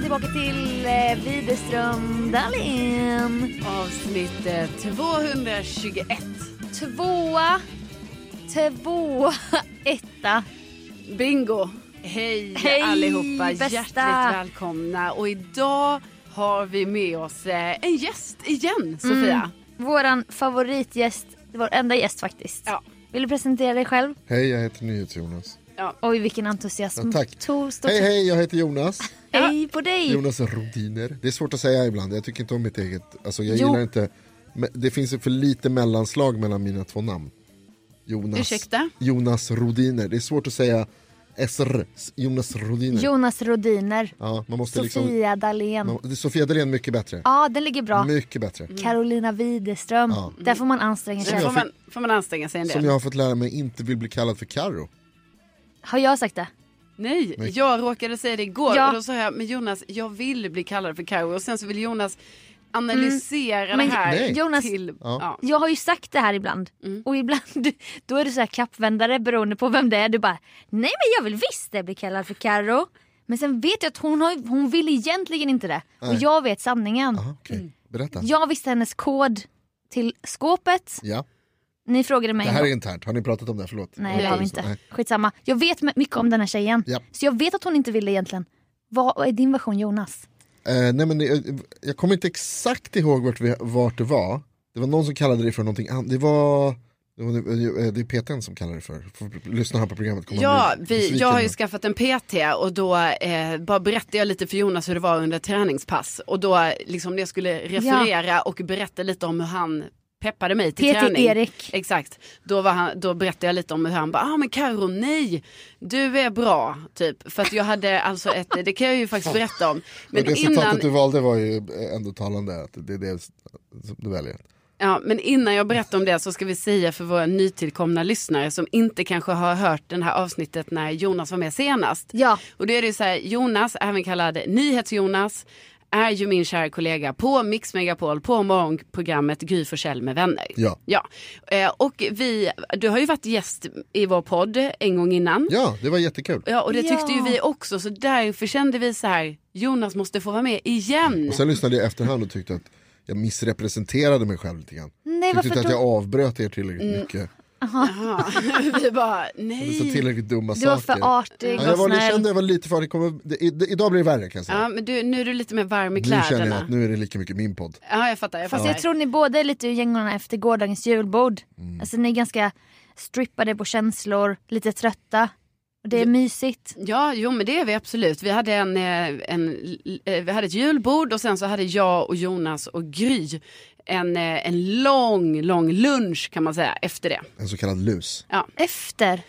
tillbaka till eh, Widerström Dahlén. Avsnitt eh, 221. Tvåa, tvåa, etta. Bingo! Hej, Hej, allihopa! bästa. Hjärtligt välkomna. Och idag har vi med oss eh, en gäst igen, Sofia. Mm. Våran favoritgäst, vår enda gäst faktiskt. Ja. Vill du presentera dig själv? Hej, jag heter NyhetsJonas. Oj, vilken entusiasm. Ja, tack. Tor, stort Hej, hej, jag heter Jonas. hej på dig. Jonas Rodiner. Det är svårt att säga ibland. Jag tycker inte om mitt eget. Alltså, jag Jo. gillar inte. men Det finns för lite mellanslag mellan mina två namn. Jonas, Ursäkta? Jonas Rodiner. Det är svårt att säga SR. Jonas Rodiner. Jonas Rodiner. ja, man måste liksom, Sofia Dalén. man, det är Sofia Dalén mycket bättre. Ja, den ligger bra. Mm, Mycket bättre. Carolina Widerström. Ja. Där får man anstränga sig. Där får man, får man anstränga sig en del. Som jag har fått lära mig inte vill bli kallad för Karo. Har jag sagt det? Nej, Nej. jag råkade säga det igår Ja. och då sa jag, men Jonas, jag vill bli kallad för Karo och sen så vill Jonas analysera Mm. Men- det här Nej. Jonas- till... Ja. Ja. Jag har ju sagt det här ibland. Och ibland då är du så här kappvändare beroende på vem det är. Du bara nej men jag vill visst det bli kallad för Karo. Men sen vet jag att hon, har, hon vill egentligen inte det. Och Nej. jag vet sanningen. Aha, okej. Berätta. Jag visste hennes kod till skåpet. Ja, Ni frågade mig det en här är gång. internt. Har ni pratat om det? här? Förlåt. Nej det har vi inte. Nej. Skitsamma. Jag vet m- mycket om den här tjejen. Ja. Så jag vet att hon inte ville egentligen. Vad är din version Jonas? Eh, nej men jag, jag kommer inte exakt ihåg vart, vi, vart det var. Det var någon som kallade det för någonting annat. Det var, det, var, eh, det är PTn som kallar det för. Får lyssna här på programmet. kommer Ja, han bli vi, besviken jag har ju nu. skaffat en PT och då eh, bara berättade jag lite för Jonas hur det var under träningspass. Och då liksom när jag skulle referera och berätta lite om hur han peppade mig till PT träning. Erik. Exakt. Då, var han, då berättade jag lite om hur han bara, ah men Karo nej, du är bra typ. För att jag hade alltså ett, det kan jag ju faktiskt berätta om. Men Men Resultatet innan, du valde var ju eh, ändå talande. Att det är det som du väljer. ja, men innan jag berättar om det så ska vi säga för våra nytillkomna lyssnare som inte kanske har hört det här avsnittet när Jonas var med senast. Ja. Och då är det ju så här, Jonas, även kallad Nyhets-Jonas, är ju min kära kollega på Mix Megapol på morgonprogrammet Gry Forssell med vänner. Ja. Ja, eh, och vi, du har ju varit gäst i vår podd en gång innan. Ja, det var jättekul. Ja, och det tyckte ju Ja. vi också, så därför kände vi så här, Jonas måste få vara med igen. Och sen lyssnade jag i efterhand och tyckte att jag missrepresenterade mig själv lite grann. Nej tyckte varför inte att jag då? avbröt er tillräckligt mycket. Jaha. vi bara, Jag sa Mm. nej. tillräckligt dumma Du saker. var för artig Ja, jag, och var, jag snäll. kände jag var lite för artig. Kommer- det- i- Idag blir det värre kan jag säga. Ja, men du, nu är du lite mer varm i nu känner jag kläderna. att nu är det lika mycket min podd. Ja, jag fattar. Jag Fast fattar. jag tror ni båda är lite ur gängorna efter gårdagens julbord. Mm. Alltså ni är ganska strippade på känslor, lite trötta. Och det är mysigt. Ja, jo men det är vi absolut. Vi hade, en, eh, en, eh, vi hade ett julbord och sen så hade jag och Jonas och Gry en, eh, en lång, lång lunch kan man säga efter det. En så kallad lus. Efter.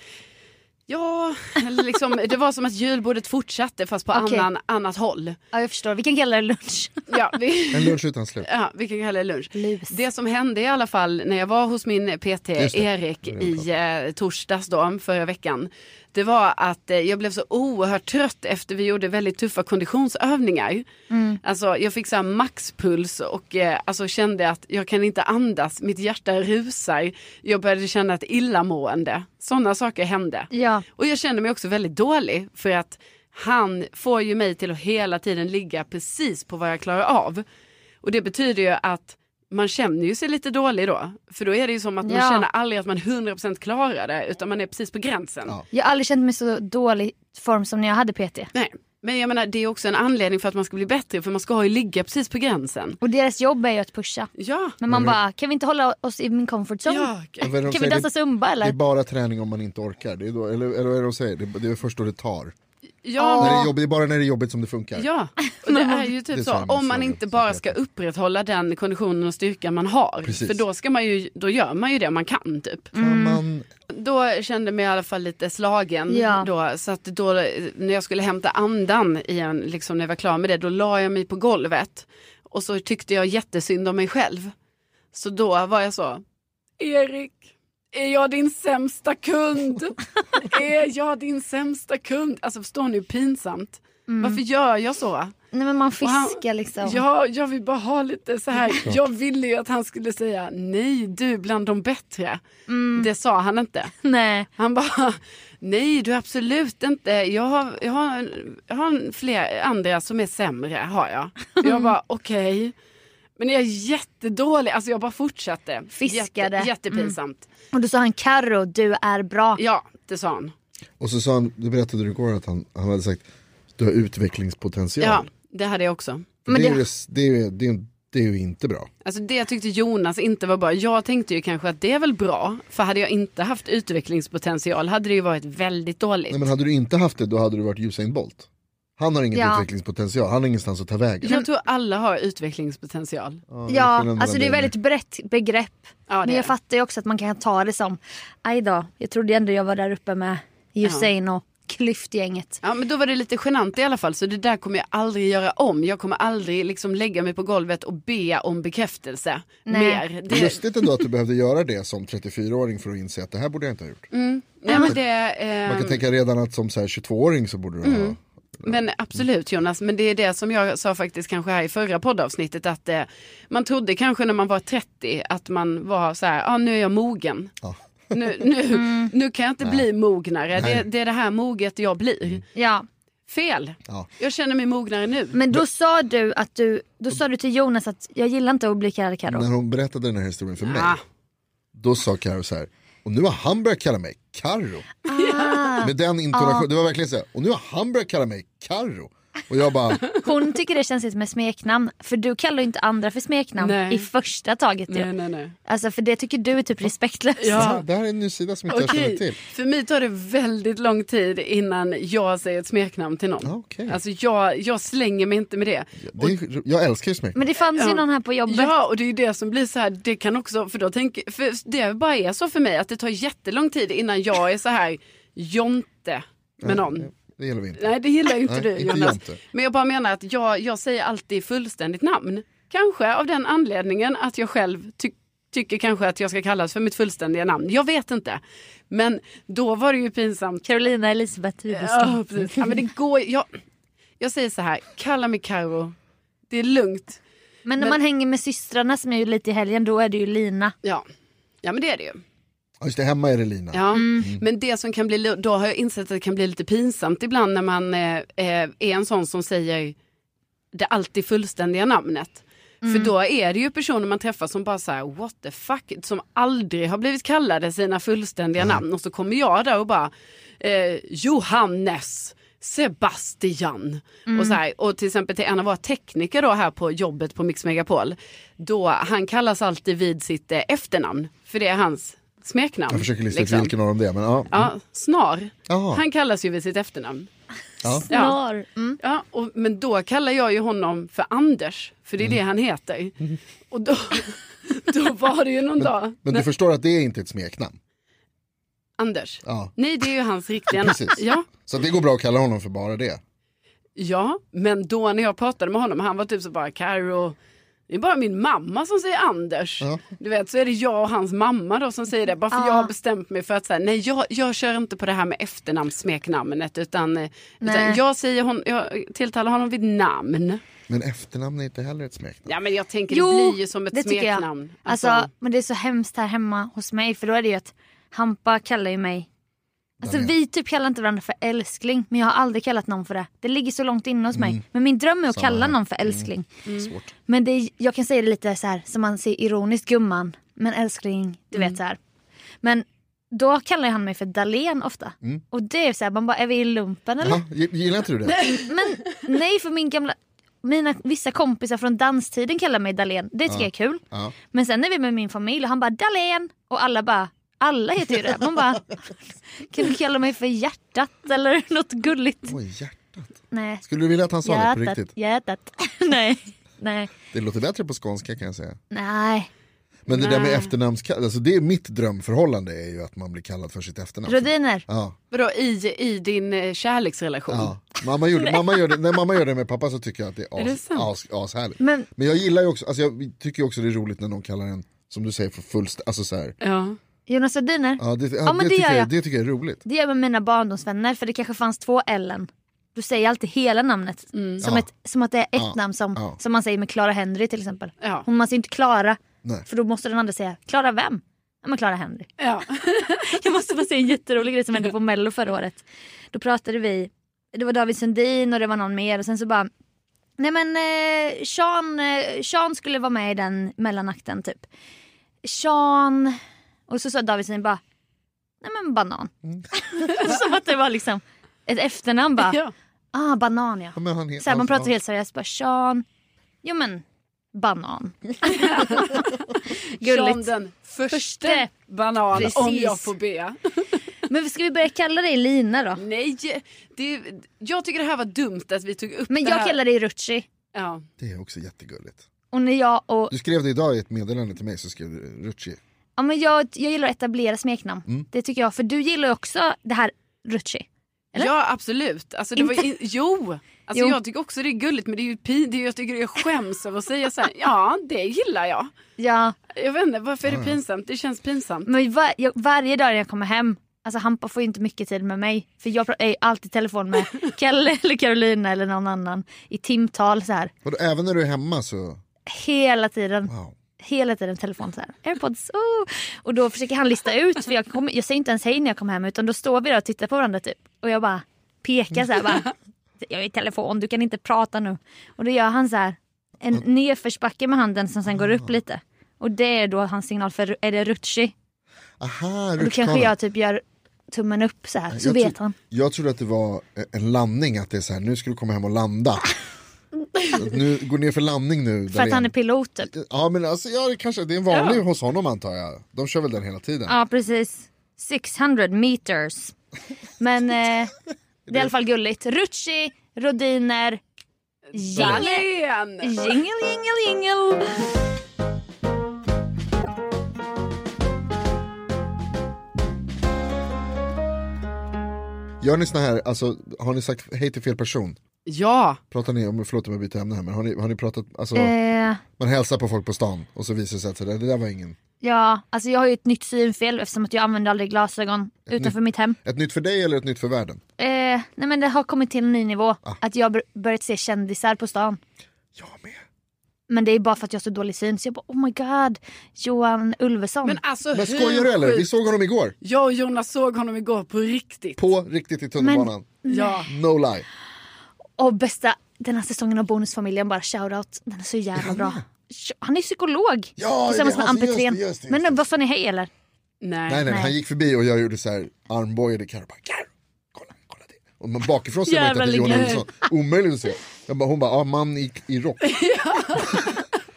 Ja, eller liksom, det var som att julbordet fortsatte fast på Okej. annan, annat håll. Ja jag förstår, vi kan kalla det lunch. Ja, vi, En lunch utan slut. ja, vi kan kalla det lunch. Lus. Det som hände i alla fall när jag var hos min PT Just det. Erik Det är i eh, torsdags då, förra veckan. Det var att eh, jag blev så oerhört trött efter vi gjorde väldigt tuffa konditionsövningar. Mm. Alltså jag fick så här maxpuls och eh, alltså, kände att jag kan inte andas, mitt hjärta rusar. Jag började känna ett illamående. Sådana saker hände. Ja. Och jag kände mig också väldigt dålig för att han får ju mig till att hela tiden ligga precis på vad jag klarar av. Och det betyder ju att man känner ju sig lite dålig då. För då är det ju som att Ja. man känner aldrig att man 100% klarar det utan man är precis på gränsen. Ja. Jag har aldrig känt mig så dålig form som när jag hade PT. Nej. Men jag menar det är också en anledning för att man ska bli bättre för man ska ju ligga precis på gränsen. Och deras jobb är ju att pusha. Ja. Men man bara, kan vi inte hålla oss i min comfort zone? Mm. Ja, Men vad är det Kan de vi säger? dansa Det- zumba Det är eller? bara träning om man inte orkar. Det är, då, eller, eller vad är det de säger? Det, det är först då det tar. ja, När det, men- är jobb, det är bara när det är jobbigt som det funkar. ja. Och det är ju Det typ är så. samma Om man sak inte som bara PT. ska upprätthålla den konditionen och styrkan man har. Precis. För då, ska man ju, då gör man ju det man kan typ. Mm. Kan man, Då kände jag mig i alla fall lite slagen. Ja. Då, så att då, när jag skulle hämta andan igen, liksom när jag var klar med det, då la jag mig på golvet. Och så tyckte jag jättesynd om mig själv. Så då var jag så, Erik, är jag din sämsta kund? är jag din sämsta kund? Alltså förstår ni hur pinsamt? Varför gör jag så? Nej men man Och han- fiskar liksom. Ja, jag vill bara ha lite så här. Jag ville ju att han skulle säga nej, du är bland de bättre. Det sa han inte. Nej. Han bara, Nej, du absolut inte. Jag har, jag har, jag har fler andra som är sämre, har jag. Jag bara, okej. Men jag är jättedålig, alltså jag bara fortsatte. Fiskade. Mm. Jätte, jättepinsamt. Och då sa han Karo, du är bra. Ja, det sa han. Och så sa han, det berättade du igår att han, han hade sagt du har utvecklingspotential. Ja, det hade jag också. För men det, är det- ju, det, är ju- det, är- det är ju inte bra. Alltså det tyckte Jonas inte var bra. Jag tänkte ju kanske att det är väl bra. För hade jag inte haft utvecklingspotential hade det ju varit väldigt dåligt. Nej, men hade du inte haft det då hade du varit Usain Bolt. Han har ingen Ja. utvecklingspotential, han har ingenstans att ta vägen. Jag tror alla har utvecklingspotential. Ja, det är Ja, skillnaden alltså det är mellan väldigt brett begrepp. Ja, det Men är jag det. fattar ju också att man kan ta det som, aj då, jag trodde ändå jag var där uppe med Usain och klyftgänget. Ja men då var det lite genant i alla fall så det där kommer jag aldrig göra om. Jag kommer aldrig liksom lägga mig på golvet och be om bekräftelse Nej. mer. Det är Det, lustigt ändå att du behövde göra det som 34-åring för att inse att det här borde jag inte ha gjort. nej, men, det, Man kan eh, tänka redan att som så här 22-åring så borde du Mm. ha... men absolut Jonas, men det är det som jag sa faktiskt kanske här i förra poddavsnittet att eh, man trodde kanske när man var 30 att man var så här, ah, nu är jag mogen. Ja. Mm. Nu, nu, nu kan jag inte bli mognare, det, Nej. Mm. det är det här moget jag blir. Ja, Fel, Ja. jag känner mig mognare nu. men då sa du att du, då sa du till Jonas att jag gillar inte att bli kallad Karo. När hon berättade den här historien för mig, Ah, då sa Karo så här, och nu har han börjat kalla mig Karo. Ah, Med den intonationen, det var verkligen så här, och nu har han börjat kalla mig Karo. Och jag bara, hon tycker det känns lite med smeknamn, för du kallar ju inte andra för smeknamn Nej. i första taget. ju. nej, nej, nej. Alltså för det tycker du är typ respektlöst. det Ja. här- det här är en ny sida som inte jag Okej, känner till. För mig tar det väldigt lång tid innan jag säger ett smeknamn till någon. Ja, okej. Alltså jag, jag slänger mig inte med det. Det är, jag älskar ju smeknamn. Men det fanns ju Ja. någon här på jobbet. Ja, och det är ju det som blir så här, det kan också, för då tänker, för det bara är så för mig att det tar jättelång tid innan jag är så här Jonte med någon. Det gillar vi inte. Nej, det gillar ju inte Nej, du inte Jonas. Jonte. Men jag bara menar att jag, jag säger alltid fullständigt namn. Kanske av den anledningen att jag själv ty- tycker kanske att jag ska kallas för mitt fullständiga namn. Jag vet inte. Men då var det ju pinsamt Carolina Elisabeth Hufvudström. Ja, precis. Ja, men det går, jag, jag säger så här, kalla mig Karo. Det är lugnt. Men när Men- man hänger med systrarna som jag gjorde lite i helgen då är det ju Lina. Ja. ja, men det är det ju. Ja, just det, hemma är det Lina. Ja. Men det som kan bli, lu- då har jag insett att det kan bli lite pinsamt ibland när man eh, eh, är en sån som säger det alltid fullständiga namnet. Mm. För då är det ju personer man träffar som bara säger what the fuck, som aldrig har blivit kallade sina fullständiga Mm. namn. Och så kommer jag där och bara eh, Johannes. Sebastian. Mm. Och, så här, och till exempel till en av våra tekniker då här på jobbet på Mix Megapol. Då han kallas alltid vid sitt eh, efternamn. För det är hans smeknamn. Jag försöker lista ut liksom. Mm. vilken av dem det är. Men, ja. Ja, Snar. Jaha. Han kallas ju vid sitt efternamn. Ja. Ja. Snar. Mm. Ja, och, men då kallar jag ju honom för Anders, för det är det Mm. han heter. Och då, då var det ju någon dag, Men du förstår att det är inte ett smeknamn. Anders. Ja. Nej, det är ju hans riktiga namn. Precis. Ja, Så att det går bra att kalla honom för bara det. ja, men då när jag pratade med honom, han var typ så bara, Karo, det är bara min mamma som säger Anders. Ja. Du vet, så är det jag och hans mamma då som säger det. Bara för Ja. jag har bestämt mig för att så här, nej, jag, jag kör inte på det här med efternamnssmeknamnet, utan, eh, Nej. utan jag, säger hon, jag tilltalar honom vid namn. Men efternamn är inte heller ett smeknamn. Ja men jag tänker det Jo, blir ju som ett det tycker jag. smeknamn. Alltså, men det är så hemskt här hemma hos mig för då är det ju att Hampa kallar ju mig. Alltså Daniel. vi typ kallar inte varandra för älskling men jag har aldrig kallat någon för det. Det ligger så långt inne hos mig. Men min dröm är att Mm. Samma kalla här. Mm. någon för älskling. Mm. Svårt. Men det är, jag kan säga det lite så här som man säger ironiskt gumman. Men älskling, du Mm. vet så här. Men då kallar han mig för Dalen ofta. Och det är så här, man bara är vi i lumpen eller? Mm. Ja, g- gillar inte du det? Men nej för min gamla, mina vissa kompisar från danstiden kallar mig Dalen. Det tycker jag är kul. Ja. Men sen är vi med min familj och han bara Dalen och alla bara alla heter ju det. Man bara kan du kalla mig för hjärtat eller något gulligt? Oj, hjärtat. Nej. Skulle du vilja att han sa det på Hjärtat, riktigt? hjärtat. Nej. Nej. Det låter bättre på skånska kan jag säga. Nej. Men det där med Nej. efternamnskall, alltså det är mitt drömförhållande är ju att man blir kallad för sitt efternamn. Rodiner. Ja, Vadå i, i din eh, kärleksrelation? ja. Mamma, gjorde, mamma gör det, när mamma gör det med pappa så tycker jag att det är, det as, sant? as, ashärligt. Men- Men jag gillar ju också, alltså jag tycker ju också det är roligt när någon kallar en, som du säger, för fullst, alltså så här. Ja. Jonas Rodiner? Ja, det, ja, men det det, tycker gör jag, jag. det tycker jag är roligt. Det gör jag med mina barndomsvänner för det kanske fanns två Ellen. Du säger alltid hela namnet. Som, Ja. ett, som att det är ett Ja. namn som, Ja. som man säger med Clara Henry till exempel. Ja. Hon man säger inte Clara Nej. för då måste den andra säga Clara vem? Ja, men Clara Henry. Ja. Jag måste bara säga en jätterolig grej som hände på mello förra året. Då pratade vi, det var David Sundin och det var någon mer och sen så bara Nej men eh, Sean, eh, Sean skulle vara med i den mellanakten typ. Sean och så sa David Sundin bara Nej men banan. som att det var liksom ett efternamn bara. Mm. ja. Ah banan ja. Ja, men han, he- Så här, man alltså, pratar helt seriöst bara Sean. Jo men banan. Som Gulligt. den första Förste. banan om Precis. jag får be. Men ska vi börja kalla dig Lina då? Nej, det, jag tycker det här var dumt att vi tog upp Men det jag här. kallar dig Rutschi. Ja. Det är också jättegulligt. Och när jag och Du skrev det idag i ett meddelande till mig så skrev du Rutschi. Ja, men jag, jag gillar att etablera smeknamn. Mm. Det tycker jag. För du gillar ju också det här Rutschi. Eller? ja, absolut. Alltså, det var in, jo. Alltså, Jo. jag tycker också det är gulligt men det är ju pin, det är, ju- jag tycker jag skäms över att säga så här. Ja, det gillar jag. Ja, Jag vet inte, varför är Ja, det ja. pinsamt? Det känns pinsamt. men var, jag, varje dag när jag kommer hem, alltså Hampa får ju inte mycket tid med mig. För jag pra- är ju alltid i telefon med Kalle eller Carolina eller någon annan i timtal så här. Och då, även när du är hemma så, Hela tiden, wow. hela tiden telefon så här. Airpods, oh. Och då försöker han lista ut, för jag, kommer, jag säger inte ens hej när jag kommer hem utan då står vi där och tittar på varandra typ. Och jag bara pekar så här bara. Jag är i telefon, du kan inte prata nu. Och då gör han så här en nedförsbacke med handen som sen går upp lite. Och det är då hans signal för är det rutschi. Aha, Och då kanske rutschkana. jag typ gör tummen upp så här så Jag vet tro- han. Jag trodde att det var en landning, att det är så här, nu ska du komma hem och landa. Att nu, gå ner för landning nu. För att Dahlén. han är pilot typ. Ja men alltså, ja, det, kanske, det är en vanlig hos honom antar jag. De kör väl den hela tiden. Ja precis. 600 meters. Men eh, det är i alla fall gulligt. Rutschi, Rodiner, Jalle. Dahlén! Jingle, jingle, jingle. Gör ni såna här, alltså, har ni sagt hej till fel person? Ja, Pratar ni om, förlåt om jag byter ämne här men har ni, har ni pratat, alltså, Eh, man hälsar på folk på stan och så visar det sig att så där, det där var ingen. ja, alltså jag har ju ett nytt synfel eftersom att jag använder aldrig glasögon utanför mitt hem. Ett nytt för dig eller ett nytt för världen? Eh, nej men det har kommit till en ny nivå. Att jag har bör- börjat se kändisar på stan. Jag med. Men det är bara för att jag har så dålig syn så jag bara oh my god, Johan Ulveson. men alltså Men skojar du eller? Vi sjukt? såg honom igår, Jag och Jonas såg honom igår på riktigt. på riktigt i tunnelbanan. Ja. No lie. Och bästa, den här säsongen av Bonusfamiljen bara shoutout, den är så jävla bra. Han är psykolog Ja, tillsammans det är med han Ann som- just det, Petrén. just det, just det. Men vad sa ni hej eller? Nej. Nej, nej, Nej. han gick förbi och jag gjorde så här armböjade Carro bara Carro, kolla, kolla det. Och man bakifrån ser man inte att det är Johan Jävla Olsson, omöjligt att se. Jag bara, hon bara, ah, man i, i rock.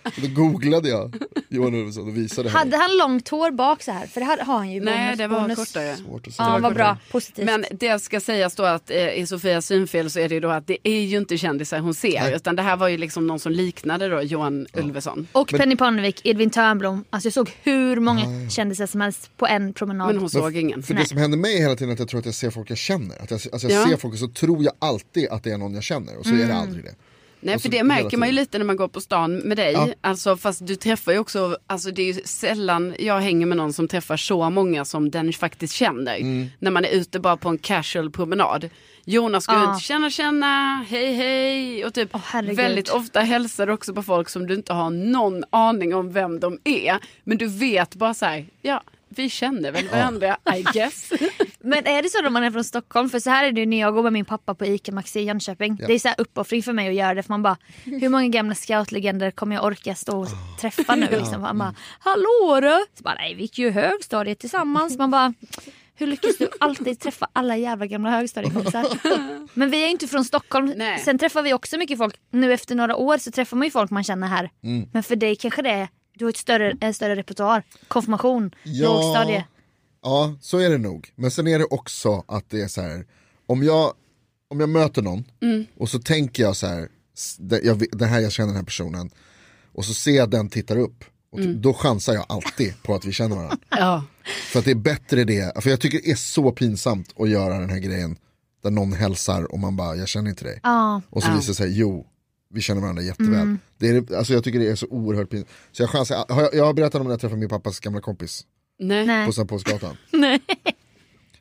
och då googlade jag Johan Olsson och visade henne. Hade han långt hår bak så här? För det här har han ju i Nej, bonus, det var bonus. kortare. Svårt att se. Ja, vad bra. Positivt. Men det ska sägas då att eh, i Sofias synfel så är det ju då att det är ju inte kändisar hon ser. Nej. Utan det här var ju liksom någon som liknade då Johan Ulveson. Och Penny Parnevik, Edvin Törnblom. Alltså jag såg hur många Ah. kändisar som helst på en promenad. Men hon såg ingen. För det som händer mig hela tiden är att jag tror att jag ser folk jag känner. Att jag, alltså jag Ja. ser folk och så tror jag alltid att det är någon jag känner och så är det Mm. aldrig det. Nej Och för så det hela märker man ju tiden. lite när man går på stan med dig. Ja. Alltså fast du träffar ju också, alltså det är ju sällan jag hänger med någon som träffar så många som den faktiskt känner. Mm. När man är ute bara på en casual promenad. Jonas går Ja. ut, tjena tjena, hej hej och typ Åh, herregud. väldigt ofta hälsar du också på folk som du inte har någon aning om vem de är. Men du vet bara så här, ja vi känner väl varandra I guess. Men är det så då man är från Stockholm? För så här är det ju när jag går med min pappa på ICA Maxi i Jönköping. Det är så här uppoffring för mig att göra det. För man bara, hur många gamla scoutlegender kommer jag orka stå och träffa nu? Liksom. Man bara, hallå du! Så bara, nej vi gick ju högstadiet tillsammans. Man bara, hur lyckas du alltid träffa alla jävla gamla högstadiekompisar? Men vi är ju inte från Stockholm. Nej. Sen träffar vi också mycket folk. Nu efter några år så träffar man ju folk man känner här. Men för dig kanske det är, du har ett större, en större repertoar. Konfirmation, Ja. lågstadie. Ja, så är det nog. Men sen är det också att det är så här, om jag, om jag möter någon Mm. och så tänker jag så här, s- det, jag, vet- det här jag känner den här personen, och så ser jag att den tittar upp, och t- Mm. då chansar jag alltid på att vi känner varandra. ja. För att det är bättre det, för jag tycker det är så pinsamt att göra den här grejen där någon hälsar och man bara, jag känner inte dig. Ja. Mm. Och så visar det sig, jo, vi känner varandra jätteväl. Det är, alltså jag tycker det är så oerhört pinsamt. Så jag chansar, har jag, jag har berättat om när jag träffade min pappas gamla kompis Nej. Nej. på Sankt Paulsgatan.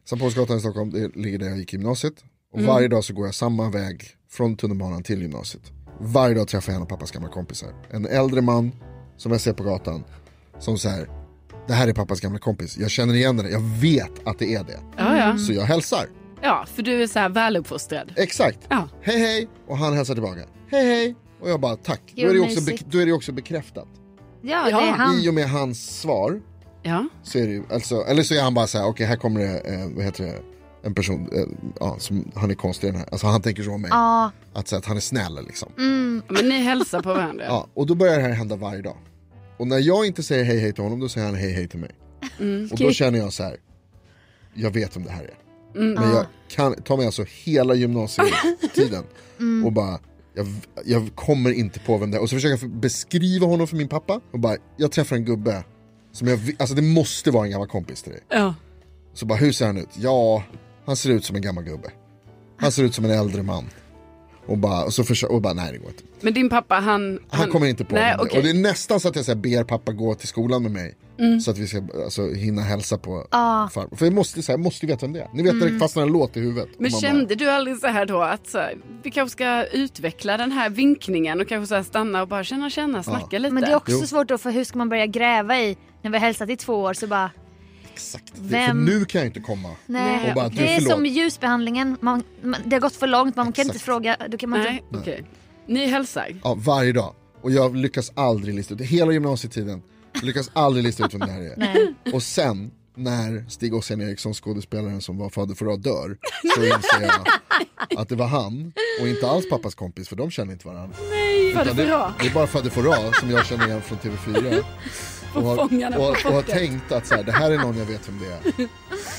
Sankt Paulsgatan i Stockholm, det ligger där jag gick i gymnasiet. Och varje dag så går jag samma väg från tunnelbanan till gymnasiet. Varje dag träffar jag en av pappas gamla kompisar. En äldre man som jag ser på gatan. Som så här, det här är pappas gamla kompis, jag känner igen henne, jag vet att det är det. Ja, ja. Så jag hälsar. ja, för du är så här väluppfostrad. Exakt. Ja. Hej hej! Och han hälsar tillbaka. Hej hej! Och jag bara tack. Då Jo, är det också, mysigt. bek- då är det också bekräftat. Ja, det Ja. är han. I och med hans svar Ja. så är det ju, alltså, eller så är han bara så här, okej här kommer det, eh, vad heter det, en person, eh, ja, som, han är konstig den här. Alltså han tänker så om mig. Ja, Att, så att han är snäll liksom. mm, Men ni hälsar på varandra. Ja, och då börjar det här hända varje dag. Och när jag inte säger hej hej till honom, då säger han hej hej till mig. Och då Mm. Okej. känner jag så här, jag vet om det här är. Mm. Men jag kan, ta mig alltså hela gymnasietiden Mm. och bara, jag, jag kommer inte på vem det är. Och så försöker jag för- beskriva honom för min pappa och bara, jag träffar en gubbe som jag, vi- alltså det måste vara en gammal kompis till dig. Ja. Så bara, hur ser han ut? Ja, han ser ut som en gammal gubbe. Han ser ut som en äldre man. Och bara, och så försöker, och bara nej det går inte. Men din pappa han... Han, kommer inte på Nej, vem det. okej. Och det är nästan så att jag så här, ber pappa gå till skolan med mig. Mm. Så att vi ska alltså, hinna hälsa på Ah. Ja. farmor. För jag måste, så här, jag måste ju veta vem det är. Ni vet när det fastnar en låt i huvudet. Och Mm. Men man kände du aldrig så här då att så här, vi kanske ska utveckla den här vinkningen och kanske så här stanna och bara känna, känna, snacka lite. men det är också Jo. svårt då för hur ska man börja gräva i när vi har hälsat i två år så bara bara, exakt, det, för Vem? nu kan jag inte komma. nej. Och bara, du, det är förlåt. som ljusbehandlingen, man, man, det har gått för långt, man kan inte Exakt. fråga, då kan man typ, inte Nej, okej. Ni hälsar. Ja, varje dag. Och jag lyckas aldrig lista ut, hela gymnasietiden, lyckas aldrig lista ut vem det här är. Nej. Och sen när Stig Ossian Eriksson, skådespelaren som var fader Fouras dör, så inser jag att det var han och inte alls pappas kompis för de känner inte varandra. Fader Utan det, Fouras. det är bara fader Fouras som jag känner igen från TV4. Och har, Fångarna på och, och har fortet. tänkt att så här, det här är någon jag vet vem det är.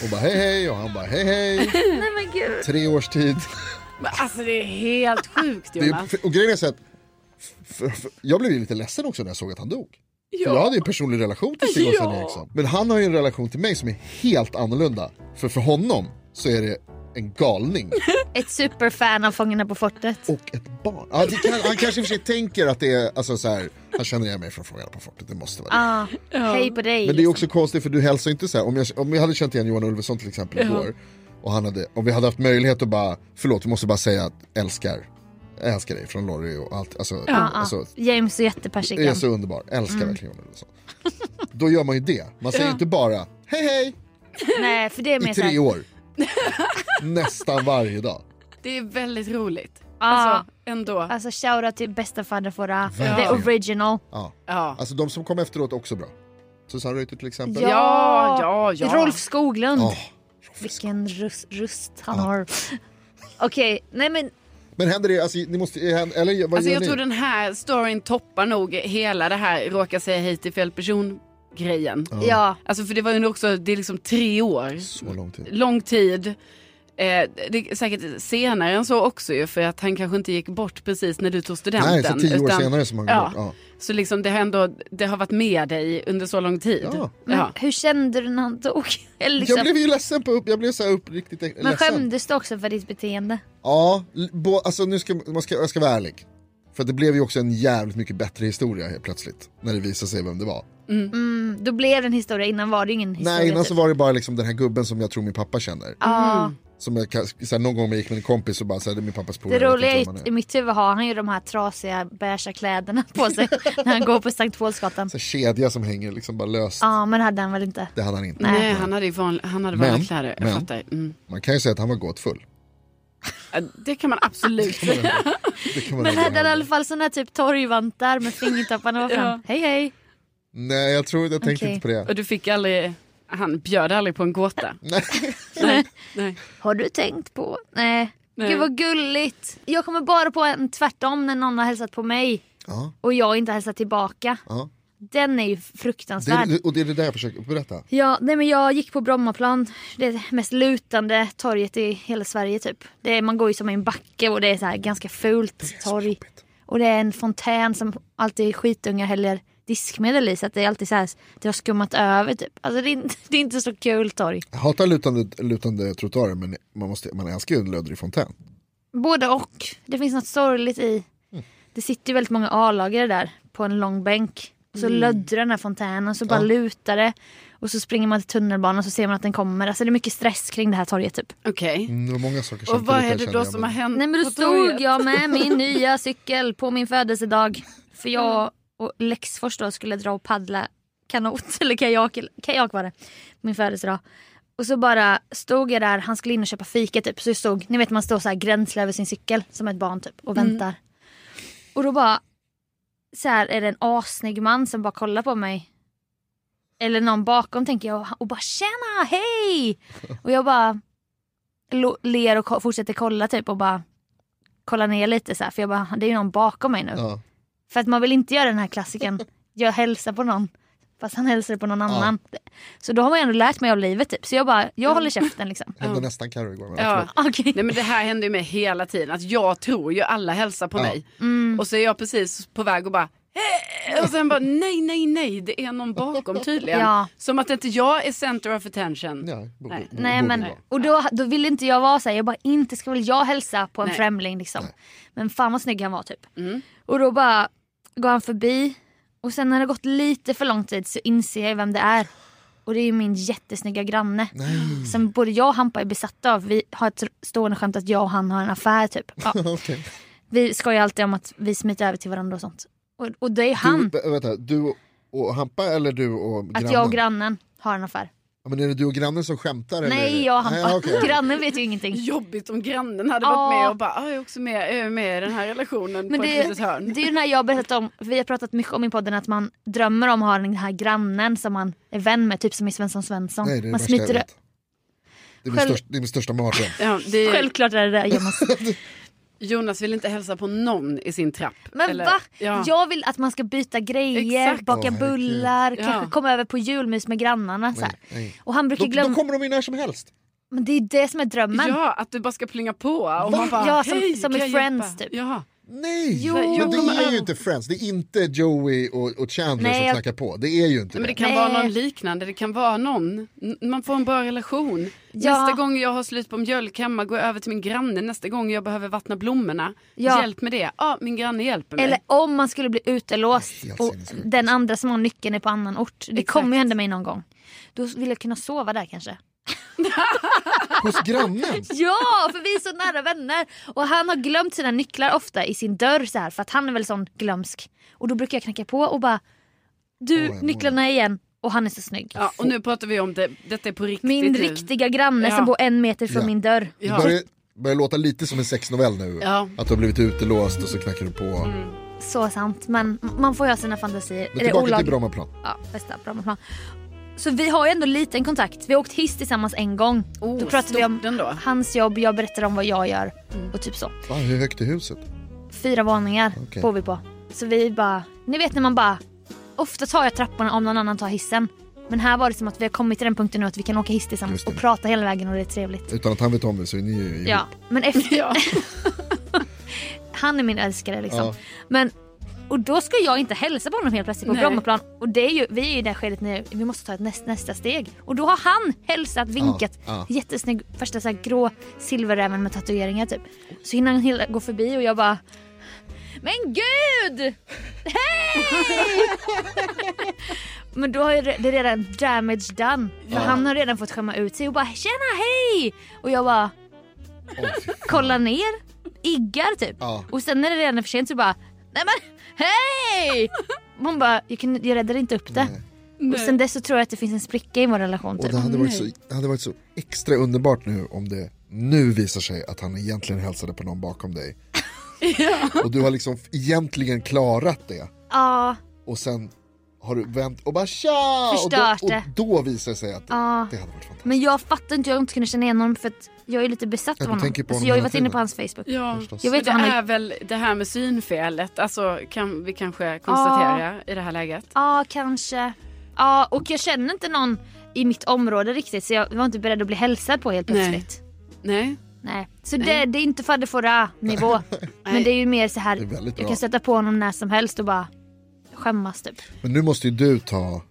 Och bara hej hej och han bara hej hej. Nej men gud. Tre års tid. Men alltså det är helt sjukt Det är, Jonas. och grejen är så att för, för, jag blev ju lite ledsen också när jag såg att han dog. För jag Ja. hade ju en personlig relation till Stig Åsbrink Ja. Eriksson. Men han har ju en relation till mig som är helt annorlunda. För för honom så är det en galning Ett superfan av Fångarna på fortet. och ett barn. Ja, det kan, han kanske i och för sig tänker att det är, alltså så här, han känner igen mig från Fångarna på fortet, det måste vara det. Ja, hej på dig. Men det är också konstigt för du hälsar inte så här, om jag, om jag hade känt igen Johan Ulveson till exempel igår och han hade, om vi hade haft möjlighet att bara, förlåt vi måste bara säga att älskar, jag älskar dig från Lorry och allt, alltså, Ja, ja. alltså James och Det är jättepersikan. så underbar, älskar verkligen Johan Ulveson. Då gör man ju det, man säger inte bara hej hej Nej för det är mer i tre såhär, år. Nästan varje dag. Det är väldigt roligt. ja, Alltså ändå. alltså shoutout till bästa fader Fora, the Verkligen. original. Ja. Ja. Alltså de som kom efteråt också bra. Susanne Reuter till exempel. Ja. Ja, ja, ja. Rolf Skoglund. Ja. Vilken rust, rust han har. Okej, nej men Men händer det, alltså, ni måste, eh, eller vad Alltså gör jag ni? tror den här storyn toppar nog hela det här råka säga hej till fel person grejen. ja. Alltså för det var ju också, det är liksom tre år. Så lång tid. Lång tid. Eh, det är säkert senare än så också ju för att han kanske inte gick bort precis när du tog studenten. Nej, så tio år utan- senare som han går ja. bort. Ja. Så liksom det har ändå, det har varit med dig under så lång tid. Ja. Men Ja. hur kände du när han dog? Eller liksom, Jag blev ju ledsen på upp, jag blev så här uppriktigt ledsen. men skämdes du också för ditt beteende? Ja, l- bo, alltså nu ska, man ska jag ska vara ärlig. För det blev ju också en jävligt mycket bättre historia helt plötsligt. När det visade sig vem det var. Mm, då blev det en historia, innan var det ingen historia. Nej, innan typ. så var Mm. det bara liksom den här gubben som jag tror min pappa känner. Ja, Som jag, kan- så här, någon gång när jag gick med en kompis och bara så här, det är min pappas det polare. jag vet roliga inte är, vem han ju- i mitt huvud har han ju de här trasiga beiga kläderna på sig när han går på Sankt Paulsgatan. Så här, kedja som hänger liksom bara löst. Ja, men det hade han väl inte? Det hade han inte. Nej, han hade ju van, han hade Men- vanliga kläder. Jag men- fattar. Mm. Man kan ju säga att han var gåtfull. Ja, Det kan man absolut säga. Det kan man Men hade ändå han i hävda. alla fall såna här typ torgvantar med fingertopparna var fram? Ja. Hej hej! Nej, jag tror jag tänkte Okej. inte på det. Och du fick aldrig, han bjöd aldrig på en gåta. Nej. Nej. Nej. Har du tänkt på? Nej. Nej. Gud vad gulligt. Jag kommer bara på en tvärtom när någon har hälsat på mig Ja, och jag inte hälsat tillbaka. ja. Den är ju Det fruktansvärd. är, och det är det där jag försöker berätta. Ja, nej men jag gick på Brommaplan, det mest lutande torget i hela Sverige typ. Det är, man går ju som i en backe och det är så här ganska fult torg. Och det är en fontän som alltid skitungar häller diskmedel i så att det är alltid så här, det har skummat över typ. Alltså det är, inte- det är inte så kul torg. Jag hatar lutande, lutande trottoarer men man, måste, man älskar ju en löddrig fontän. Både och. Det finns något sorgligt i. Det sitter ju väldigt många A-lagare där på en lång bänk. Och så löddrar den här fontänen och så bara Ja. lutar det. Och så springer man till tunnelbanan och så ser man att den kommer. Alltså det är mycket stress kring det här torget typ. Okej. Mm, det var många saker Och samtidigt vad där, är det känner då jag, som har men- hänt Nej men då på stod torget? jag med min nya cykel på min födelsedag. För jag och Lexfors då skulle dra och paddla kanot eller kajak, kajak var det, på min födelsedag. Och så bara stod jag där, han skulle in och köpa fika typ. Så jag stod, ni vet man står så här gränsle över sin cykel som ett barn typ och väntar. Och då bara, så här är det en assnygg man som bara kollar på mig. Eller någon bakom tänker jag och bara tjena, hej! Och jag bara lo- ler och ko- fortsätter kolla typ och bara kollar ner lite så här. För jag bara, det är ju någon bakom mig nu. Ja. För att man vill inte göra den här klassiken. Jag hälsar på någon. Fast han hälsar på någon annan. Så då har man ju ändå lärt mig av livet typ. Så jag bara, jag håller käften liksom. Hände Ja. nästan Carro igår. Men Ja. ja. Okej. Nej men det här händer ju mig hela tiden. Att jag tror ju alla hälsar på Ja. mig. Mm. Och så är jag precis på väg och bara "Eh!" och sen bara nej, nej, nej, det är någon bakom tydligen. Ja. Som att inte jag är center of attention. Ja, borde, Nej. borde Nej men, vara. och då, då ville inte jag vara så här. jag bara inte ska väl jag hälsa på en Nej. främling liksom. Men fan vad snygg han var typ. Mm. Och då bara går han förbi och sen när det har gått lite för lång tid så inser jag vem det är. Och det är ju min jättesnygga granne. Nej. Som både jag och Hampa är besatta av. Vi har ett stående skämt att jag och han har en affär typ. Ja. Okej. Vi skojar alltid om att vi smiter över till varandra och sånt. Och, och det är Du, han, vä- vänta, du och Hampa eller du och grannen? att jag och grannen har en affär. ja, men är det du och grannen som skämtar? Nej, eller? jag och Hampa. Nej, okej. Grannen vet ju ingenting. Jobbigt om grannen hade Ja. varit med och bara "Ah, jag är också med, jag är med i den här relationen Men på det, ett litet hörn. det är ju den här jag har berättat om, vi har pratat mycket om i podden att man drömmer om att ha den här grannen som man är vän med, typ som i Svensson Svensson. Nej, det är det man värsta jag smiter vet. Det är min, Själv- största, det är min största mardröm. Ja, det Självklart är det det Jonas. Jonas vill inte hälsa på någon i sin trapp. Men Eller- va? Ja. Jag vill att man ska byta grejer, Exakt. baka Åh, herregud. bullar, Ja. kanske komma över på julmys med grannarna. Så här. Nej, nej. Och han brukar Då, glömma, då kommer de in när som helst. men det är det som är drömmen. Ja, att du bara ska plinga på. Och man bara, Ja, som- "Hej, som i kan jag Friends, hjälpa?" typ. Ja. Nej, Jo, men jag det kommer- är ju inte Friends. Det är inte Joey och, och Chandler Nej, jag- som knackar på. Det är ju inte Men det det. kan Nej. vara någon liknande, det kan vara någon. N- Man får en bra relation. Ja. Nästa gång jag har slut på mjölk hemma, går jag över till min granne. Nästa gång jag behöver vattna blommorna, Ja. hjälp med det. Ja, min granne hjälper mig. Eller om man skulle bli utelåst Helt och sinnessjukt. den andra som har nyckeln är på annan ort. Det Exakt. kommer ju hända mig någon gång. Då vill jag kunna sova där kanske. Hos grannen. Ja, för vi är så nära vänner. Och han har glömt sina nycklar ofta i sin dörr så här för att han är väl sån glömsk. Och då brukar jag knacka på och bara du Oj, oj. nycklarna igen och han är så snygg. Ja, och nu pratar vi om det, detta är på riktigt Min nu. riktiga granne som Ja. bor en meter från Ja. min dörr. Det Ja. börjar, börjar låta lite som en sexnovell nu. Ja. Att du har blivit utelåst och så knackar du på. Mm. Så sant men man får ju ha sina fantasier. Men är det tillbaka till olagligt? Brommaplan. Ja, bästa Brommaplan. Så vi har ju ändå liten kontakt. Vi har åkt hiss tillsammans en gång. Oh, då pratar vi om stort ändå. Mm. hans jobb, jag berättar om vad jag gör och typ så. Va, hur högt är huset? Fyra våningar Okej. bor vi på. Så vi bara, ni vet när man bara, ofta tar jag trapporna om någon annan tar hissen. Men här var det som att vi har kommit till den punkten nu att vi kan åka hiss tillsammans Just det. och prata hela vägen och det är trevligt. Utan att han vet om det så är ni ju ihop. Ja, men efter, Ja. han är min älskare liksom. Ja. Men, och då ska jag inte hälsa på honom helt plötsligt på Nej. Brommaplan. Och det är ju, vi är ju i det skedet nu, vi måste ta ett näst, nästa steg. Och då har han hälsat, vinkat, ja. jättesnygg, första så här grå silverräven med tatueringar typ. Så hinner han hela, gå förbi och jag bara Men gud! Hej! Men då har ju re- det redan damage done. För han har redan fått skämma ut sig och bara tjena hej! Och jag bara Åh, fy fan. kollar ner, iggar typ. Ja. Och sen när det redan är för sent så bara nej men hej! Man bara jag, kunde, jag räddade inte upp det. Och sen dess så tror jag att det finns en spricka i vår relation Och typ. det hade, varit så, det hade varit så extra underbart nu om det nu visar sig att han egentligen hälsade på någon bakom dig. Och du har liksom egentligen klarat det. Ja, Och sen har du vänt och bara tja! Och Förstört då, och det. då visar det sig att det, Ja. det hade varit fantastiskt. men jag fattar inte hur jag inte kunde känna igen honom för att jag är lite besatt Ja, av du honom. tänker på alltså, honom jag har ju hela varit inne tiden. på hans Facebook. Ja. Förstås. Jag vet det vad han är är... väl det här med synfelet, alltså kan vi kanske konstatera i det här läget. Ja, kanske. Ja, och jag känner inte någon i mitt område riktigt så jag var inte beredd att bli hälsad på helt Nej. plötsligt. Nej. Nej. Så det, det är inte fadde fåra nivå. Men det är ju mer så här, Det är väldigt jag bra. kan stöta på honom när som helst och bara skämmas typ. Men nu måste ju du ta,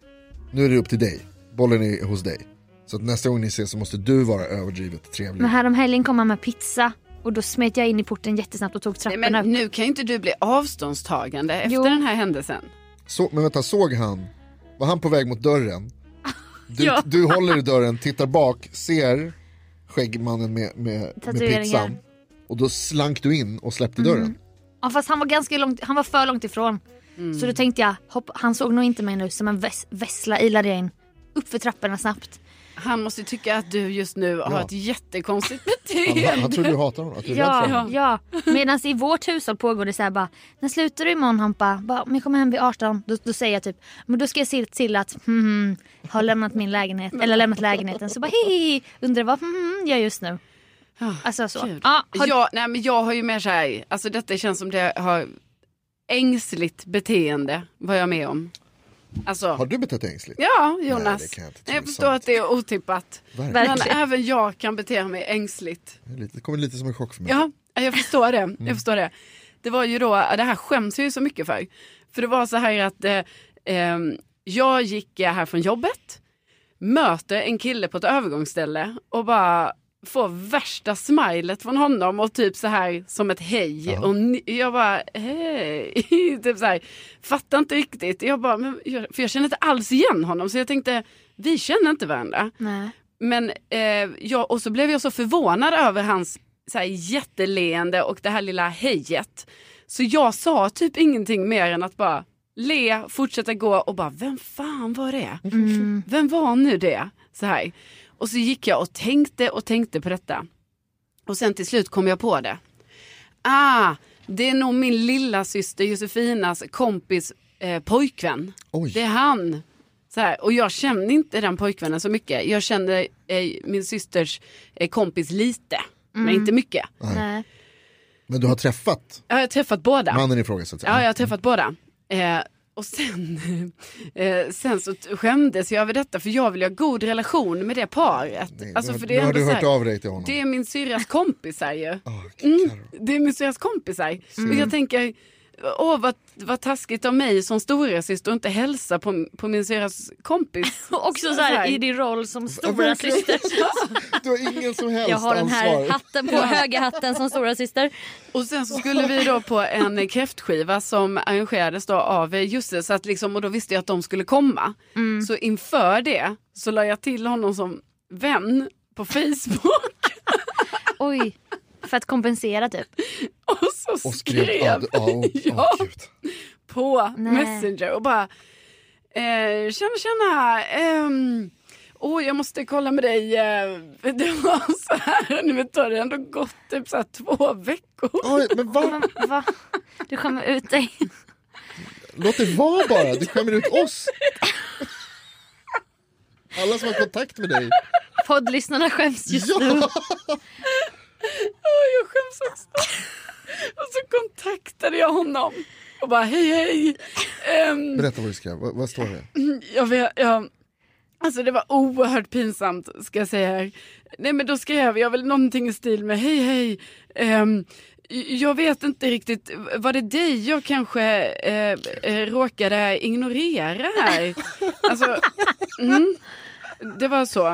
nu är det upp till dig. Bollen är hos dig. Så att nästa gång ni ses så måste du vara överdrivet trevlig. Men häromhelgen kom han med pizza och då smet jag in i porten jättesnabbt och tog Nej, trapporna men upp. nu kan ju inte du bli avståndstagande efter Jo. den här händelsen. Så, men vänta, såg han, var han på väg mot dörren? Du, Ja. du håller i dörren, tittar bak, ser skäggmannen med, med, med Tatueringar. pizzan. Mm. Och då slank du in och släppte dörren. Ja, fast han var ganska långt, han var för långt ifrån. Mm. Så då tänkte jag, hopp, han såg nog inte mig nu, som en väs, vessla ilade jag in. Upp för trapporna snabbt. Han måste tycka att du just nu har Ja. ett jättekonstigt Han, han, han beteende. tror du hatar honom, att du är rädd för Ja, honom. ja. Medan i vårt hushåll pågår det så här bara, när slutar du imorgon Hampa? Bara, om jag kommer hem vid 18, då, då säger jag typ, men då ska jag se till att hmm, har lämnat min lägenhet, eller lämnat lägenheten. Så bara hihi, undrar vad hmm, jag just nu. Ja, Alltså så. Ah, Gud. Ja, har, jag, nej, men jag har ju mer så här, alltså detta känns som det har ängsligt beteende var jag med om. Har Alltså, du betett dig ängsligt? ja Nej, Jonas. det kan jag inte tro är jag förstår sant. att det är otippat. Verkligen. Verkligen. Men även jag kan bete mig ängsligt. Det är lite- Det kommer lite som en chock för mig. Ja, jag förstår det. Jag förstår det. Det var ju då, det här skäms jag ju så mycket för. För det var så här att eh, ehm, jag gick eh, här från jobbet, möter en kille på ett övergångsställe och bara får värsta smilet från honom och typ så här som ett hej. Ja. Och ni, jag bara hej, typ så här, fattar inte riktigt. Jag bara, men, jag, för jag känner inte alls igen honom så jag tänkte vi känner inte varandra. nej. Men eh, jag, och så blev jag så förvånad över hans så här, jätteleende och det här lilla hejet. Så jag sa typ ingenting mer än att bara le, fortsätta gå och bara vem fan var det? Mm. Vem var nu det? Så här. Och så gick jag och tänkte och tänkte på detta. Och sen till slut kom jag på det. Ah, det är nog min lilla syster Josefinas kompis eh, pojkvän. Oj. Det är han. Så här, och jag känner inte den pojkvännen så mycket. Jag känner eh, min systers eh, kompis lite, Mm. men inte mycket. Nej. Men du har träffat Jag har träffat båda. mannen i fråga så att säga. Ja, jag har träffat båda. Eh, och sen, eh, sen så t- skämdes jag över detta för jag vill ju ha god relation med det paret. Nej, alltså, nu, för det är nu har ändå du så hört här, av dig till honom. det är Mm. min syrras kompisar ju. Ah, Karo. Det är min syrras kompisar. Mm. Och jag tänker, åh vad, vad taskigt av mig som storasyster att inte hälsa på, på min syrras kompis. Och också så här, i din roll som stora verkligen. syster. Du har ingen som helst Jag har den här ansvar. hatten på, höga hatten som stora syster. Och sen så skulle vi då på en kräftskiva som arrangerades då av eh, Jussi så att liksom, och då visste jag att de skulle komma. Så inför det så la jag till honom som vän på Facebook Oj, för att kompensera typ. och så Och skrev, ja, skrev du- ja, åh, åh, Ja. gud. på Nej. Messenger och bara eh, tjena tjena ehm, Åh, jag måste kolla med dig. eh, Det var så här, nu vet du, det har ändå gått typ så här två veckor. Oj, men vad? Men, va? Du skämmer ut dig. Låt det vara bara, du skämmer ut oss. Alla som har kontakt med dig. Poddlyssnarna skäms just nu. Ja, Åh, jag skäms också. Och så kontaktade jag honom och bara hej hej. Ehm, berätta vad du skrev, vad, vad står det? jag vet, jag, alltså det var oerhört pinsamt ska jag säga här. Nej men då skrev jag väl någonting i stil med hej hej. Ehm, jag vet inte riktigt, var det dig jag kanske eh, eh, råkade ignorera här? Alltså, mm, det var så.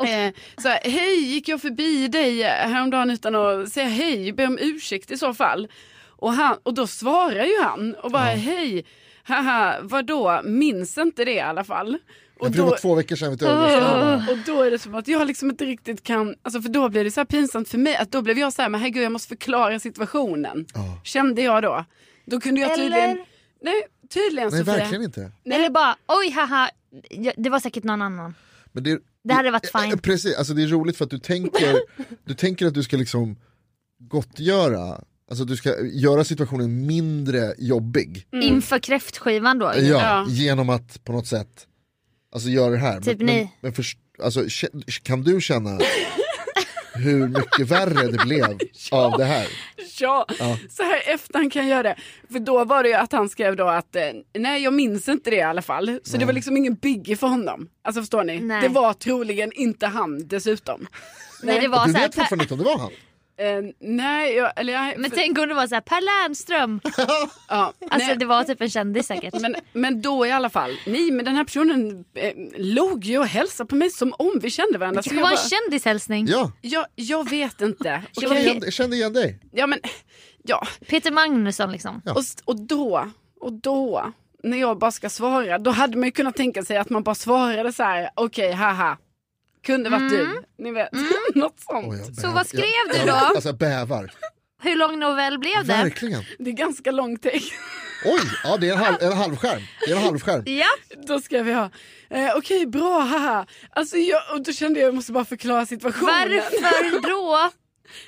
Eh, så här, hej, gick jag förbi dig eh, häromdagen utan att säga hej? Be om ursäkt i så fall. Och, han, och då svarar ju han och bara hej, haha, vadå, minns inte det i alla fall. Och Jag tror det var två veckor sedan vi tog Ah. över. Ja, och då är det som att jag liksom inte riktigt kan, alltså för då blir det så här pinsamt för mig att då blev jag så här, men herregud jag måste förklara situationen. Ja. Kände jag då. Då kunde jag tydligen, Eller? nej tydligen Nej, Sofia. verkligen inte. Eller bara oj haha, ja, det var säkert någon annan. Men det, Det hade varit Eh, fine. Precis, alltså det är roligt för att du tänker, du tänker att du ska liksom gottgöra, alltså du ska göra situationen mindre jobbig. Inför kräftskivan då. Ja, Ja. Genom att på något sätt, alltså göra det här. Typ men, ni. men, men först, alltså, k- kan du känna hur mycket värre det blev av det här? Ja, Ja. så här i efterhand kan jag göra det. För då var det ju att han skrev då att eh, nej jag minns inte det i alla fall. Så det var liksom ingen biggie för honom. Alltså förstår ni? Nej. Det var troligen inte han dessutom. Nej, det var Du så här, vet per, fortfarande inte om det var han? Eh, nej, jag, eller jag, men för- tänk om det var så här, Per Lernström. ja, Alltså nej. det var typ en kändis säkert. Men, men då i alla fall, nej men den här personen eh, log ju och hälsade på mig som om vi kände varandra. Det Så kanske jag, var bara, en kändishälsning. Ja, jag, jag vet inte. Det var kände Okej, helt- igen, kände igen dig. Ja men, ja. Peter Magnusson liksom. Ja. Och, s- och då, och då, när jag bara ska svara, då hade man ju kunnat tänka sig att man bara svarade så här, okej haha, kunde varit du, ni vet, något sånt. Oj, jag Så bäv- vad skrev jag, du jag, då? Alltså jag bävar, Hur lång novell blev det? verkligen. Det är ganska lång text. Oj, ja, det är en, halv, en halvskärm. Det är en halvskärm. Ja, Då ska vi ha. Eh, Okej, bra, haha. Alltså jag, och då kände jag jag måste bara förklara situationen. varför då?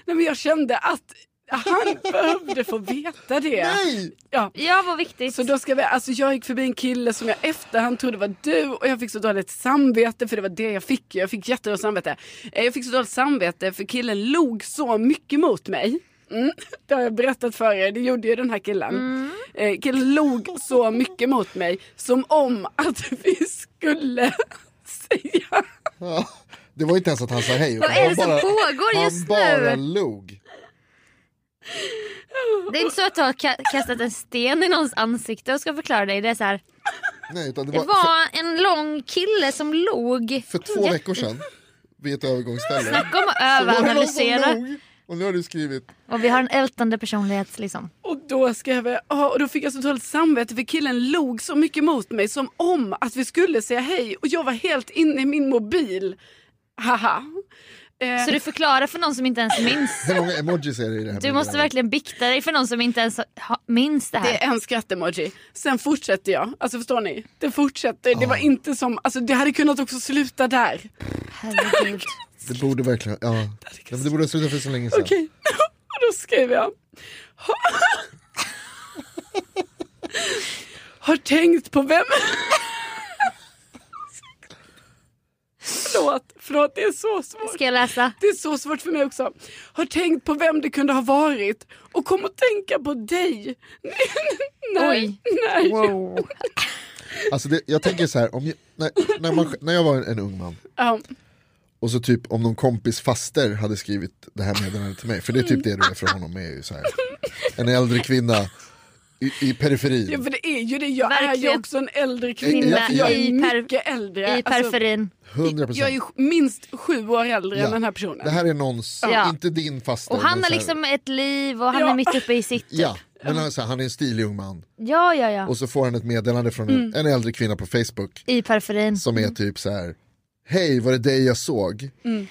Nej, men jag kände att han behövde få veta det. Nej! Ja. Ja, vad viktigt. Så då ska vi, alltså jag gick förbi en kille som jag efterhand trodde var du och jag fick så dåligt samvete för det var det jag fick. Jag fick jättedåligt samvete. Eh, Jag fick så dåligt samvete för killen log så mycket mot mig. Mm, det har jag berättat för er, det gjorde ju den här killen. Eh, killen log så mycket mot mig som om att vi skulle säga Ja, det var inte ens att han sa hej. Vad utan är han det som pågår han just bara nu? log. Det är inte så att du har ka- kastat en sten i någons ansikte och ska förklara dig. Det är så här, Nej, utan det det var, för, var en lång kille som log. för två veckor sedan vid ett övergångsställe. Snacka om att så var det någon som överanalysera. log. Och nu har du skrivit. Och vi har en ältande personlighet liksom. Och då skrev jag, ja och då fick jag så dåligt samvete för killen log så mycket mot mig som om att vi skulle säga hej och jag var helt inne i min mobil. Haha. Eh, Så du förklarar för någon som inte ens minns. Hur många emojis är det i det här? Du meddelandet? måste verkligen bikta dig för någon som inte ens ha- minns det här. det är en skrattemoji. Sen fortsätter jag. Alltså förstår ni? Det fortsätter. Det var inte som, alltså det hade kunnat också sluta där. Herregud. Det borde verkligen, ja. Nej, men Det borde ha slutat för så länge sedan. Okej. Och då skrev jag. "Ha- Har tänkt på vem... förlåt, förlåt det är så svårt. Ska jag läsa? Det är så svårt för mig också. Har tänkt på vem det kunde ha varit och kom att tänka på dig. när, Oj. När, Wow. Alltså det, jag tänker så här, om jag, när, när, man, när jag var en, en ung man ja, och så typ om någon kompis faster hade skrivit det här meddelandet till mig, för det är typ det du är för honom, är ju så här, en äldre kvinna i, i ja, periferin, för det är ju det. Jag är ju Verkligen. också en äldre I- kvinna. jag- jag är i per- mycket äldre. I Alltså, periferin. 100% jag är ju minst sju år äldre än den här personen. Det här är någons, Ja. inte din faster. Och han men har så här- liksom ett liv och han Ja. är mitt uppe i sitt. Ja, men han, är så här, han är en stilig ung man. Ja, ja, ja. Och så får han ett meddelande från Mm. en, en äldre kvinna på Facebook I periferin. som är typ så här, hej var det dig jag såg? Mm.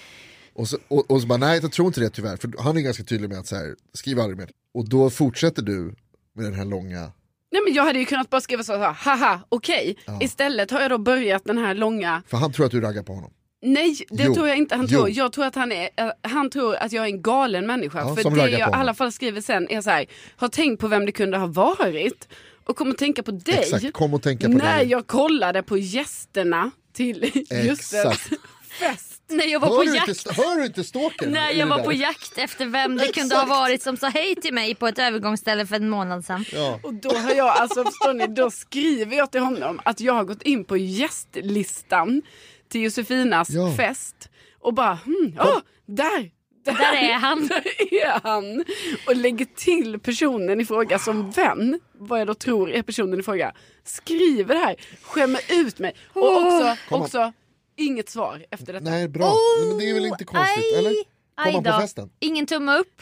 Och, så, och, och så bara, nej jag tror inte det tyvärr, för han är ganska tydlig med att så här, skriv aldrig mer. Och då fortsätter du med den här långa, Nej, men jag hade ju kunnat bara skriva så här, haha, okej. Istället har jag då börjat den här långa, för han tror att du raggar på honom. nej det Jo. tror jag inte han Jo. tror. Jag tror att han, är, eh, han tror att jag är en galen människa. Ja, för som det jag raggar i på honom. alla fall skriver sen är så här, har tänkt på vem det kunde ha varit och kommer att tänka på dig. Exakt, kom och tänka på När det. jag kollade på gästerna till Jusses Exakt. fest. När jag var Hör på du, jakt. inte, hör du inte stalkern? När i jag det var där? på jakt efter vem det kunde ha varit som sa hej till mig på ett övergångsställe för en månad sedan. Ja. Och då har jag, alltså förstår ni, då skriver jag till honom att jag har gått in på gästlistan till Josefinas Ja. fest och bara, hmm, åh, där! Där, Där är han. Där är han! Och lägger till personen i fråga som vän, vad jag då tror är personen i fråga, skriver det här, skämmer ut mig. Och också, Kom on. också inget svar efter detta. Nej, bra. Nej, men det är väl inte konstigt, aj, eller? aj Kom han på då. festen? Ingen tumme upp.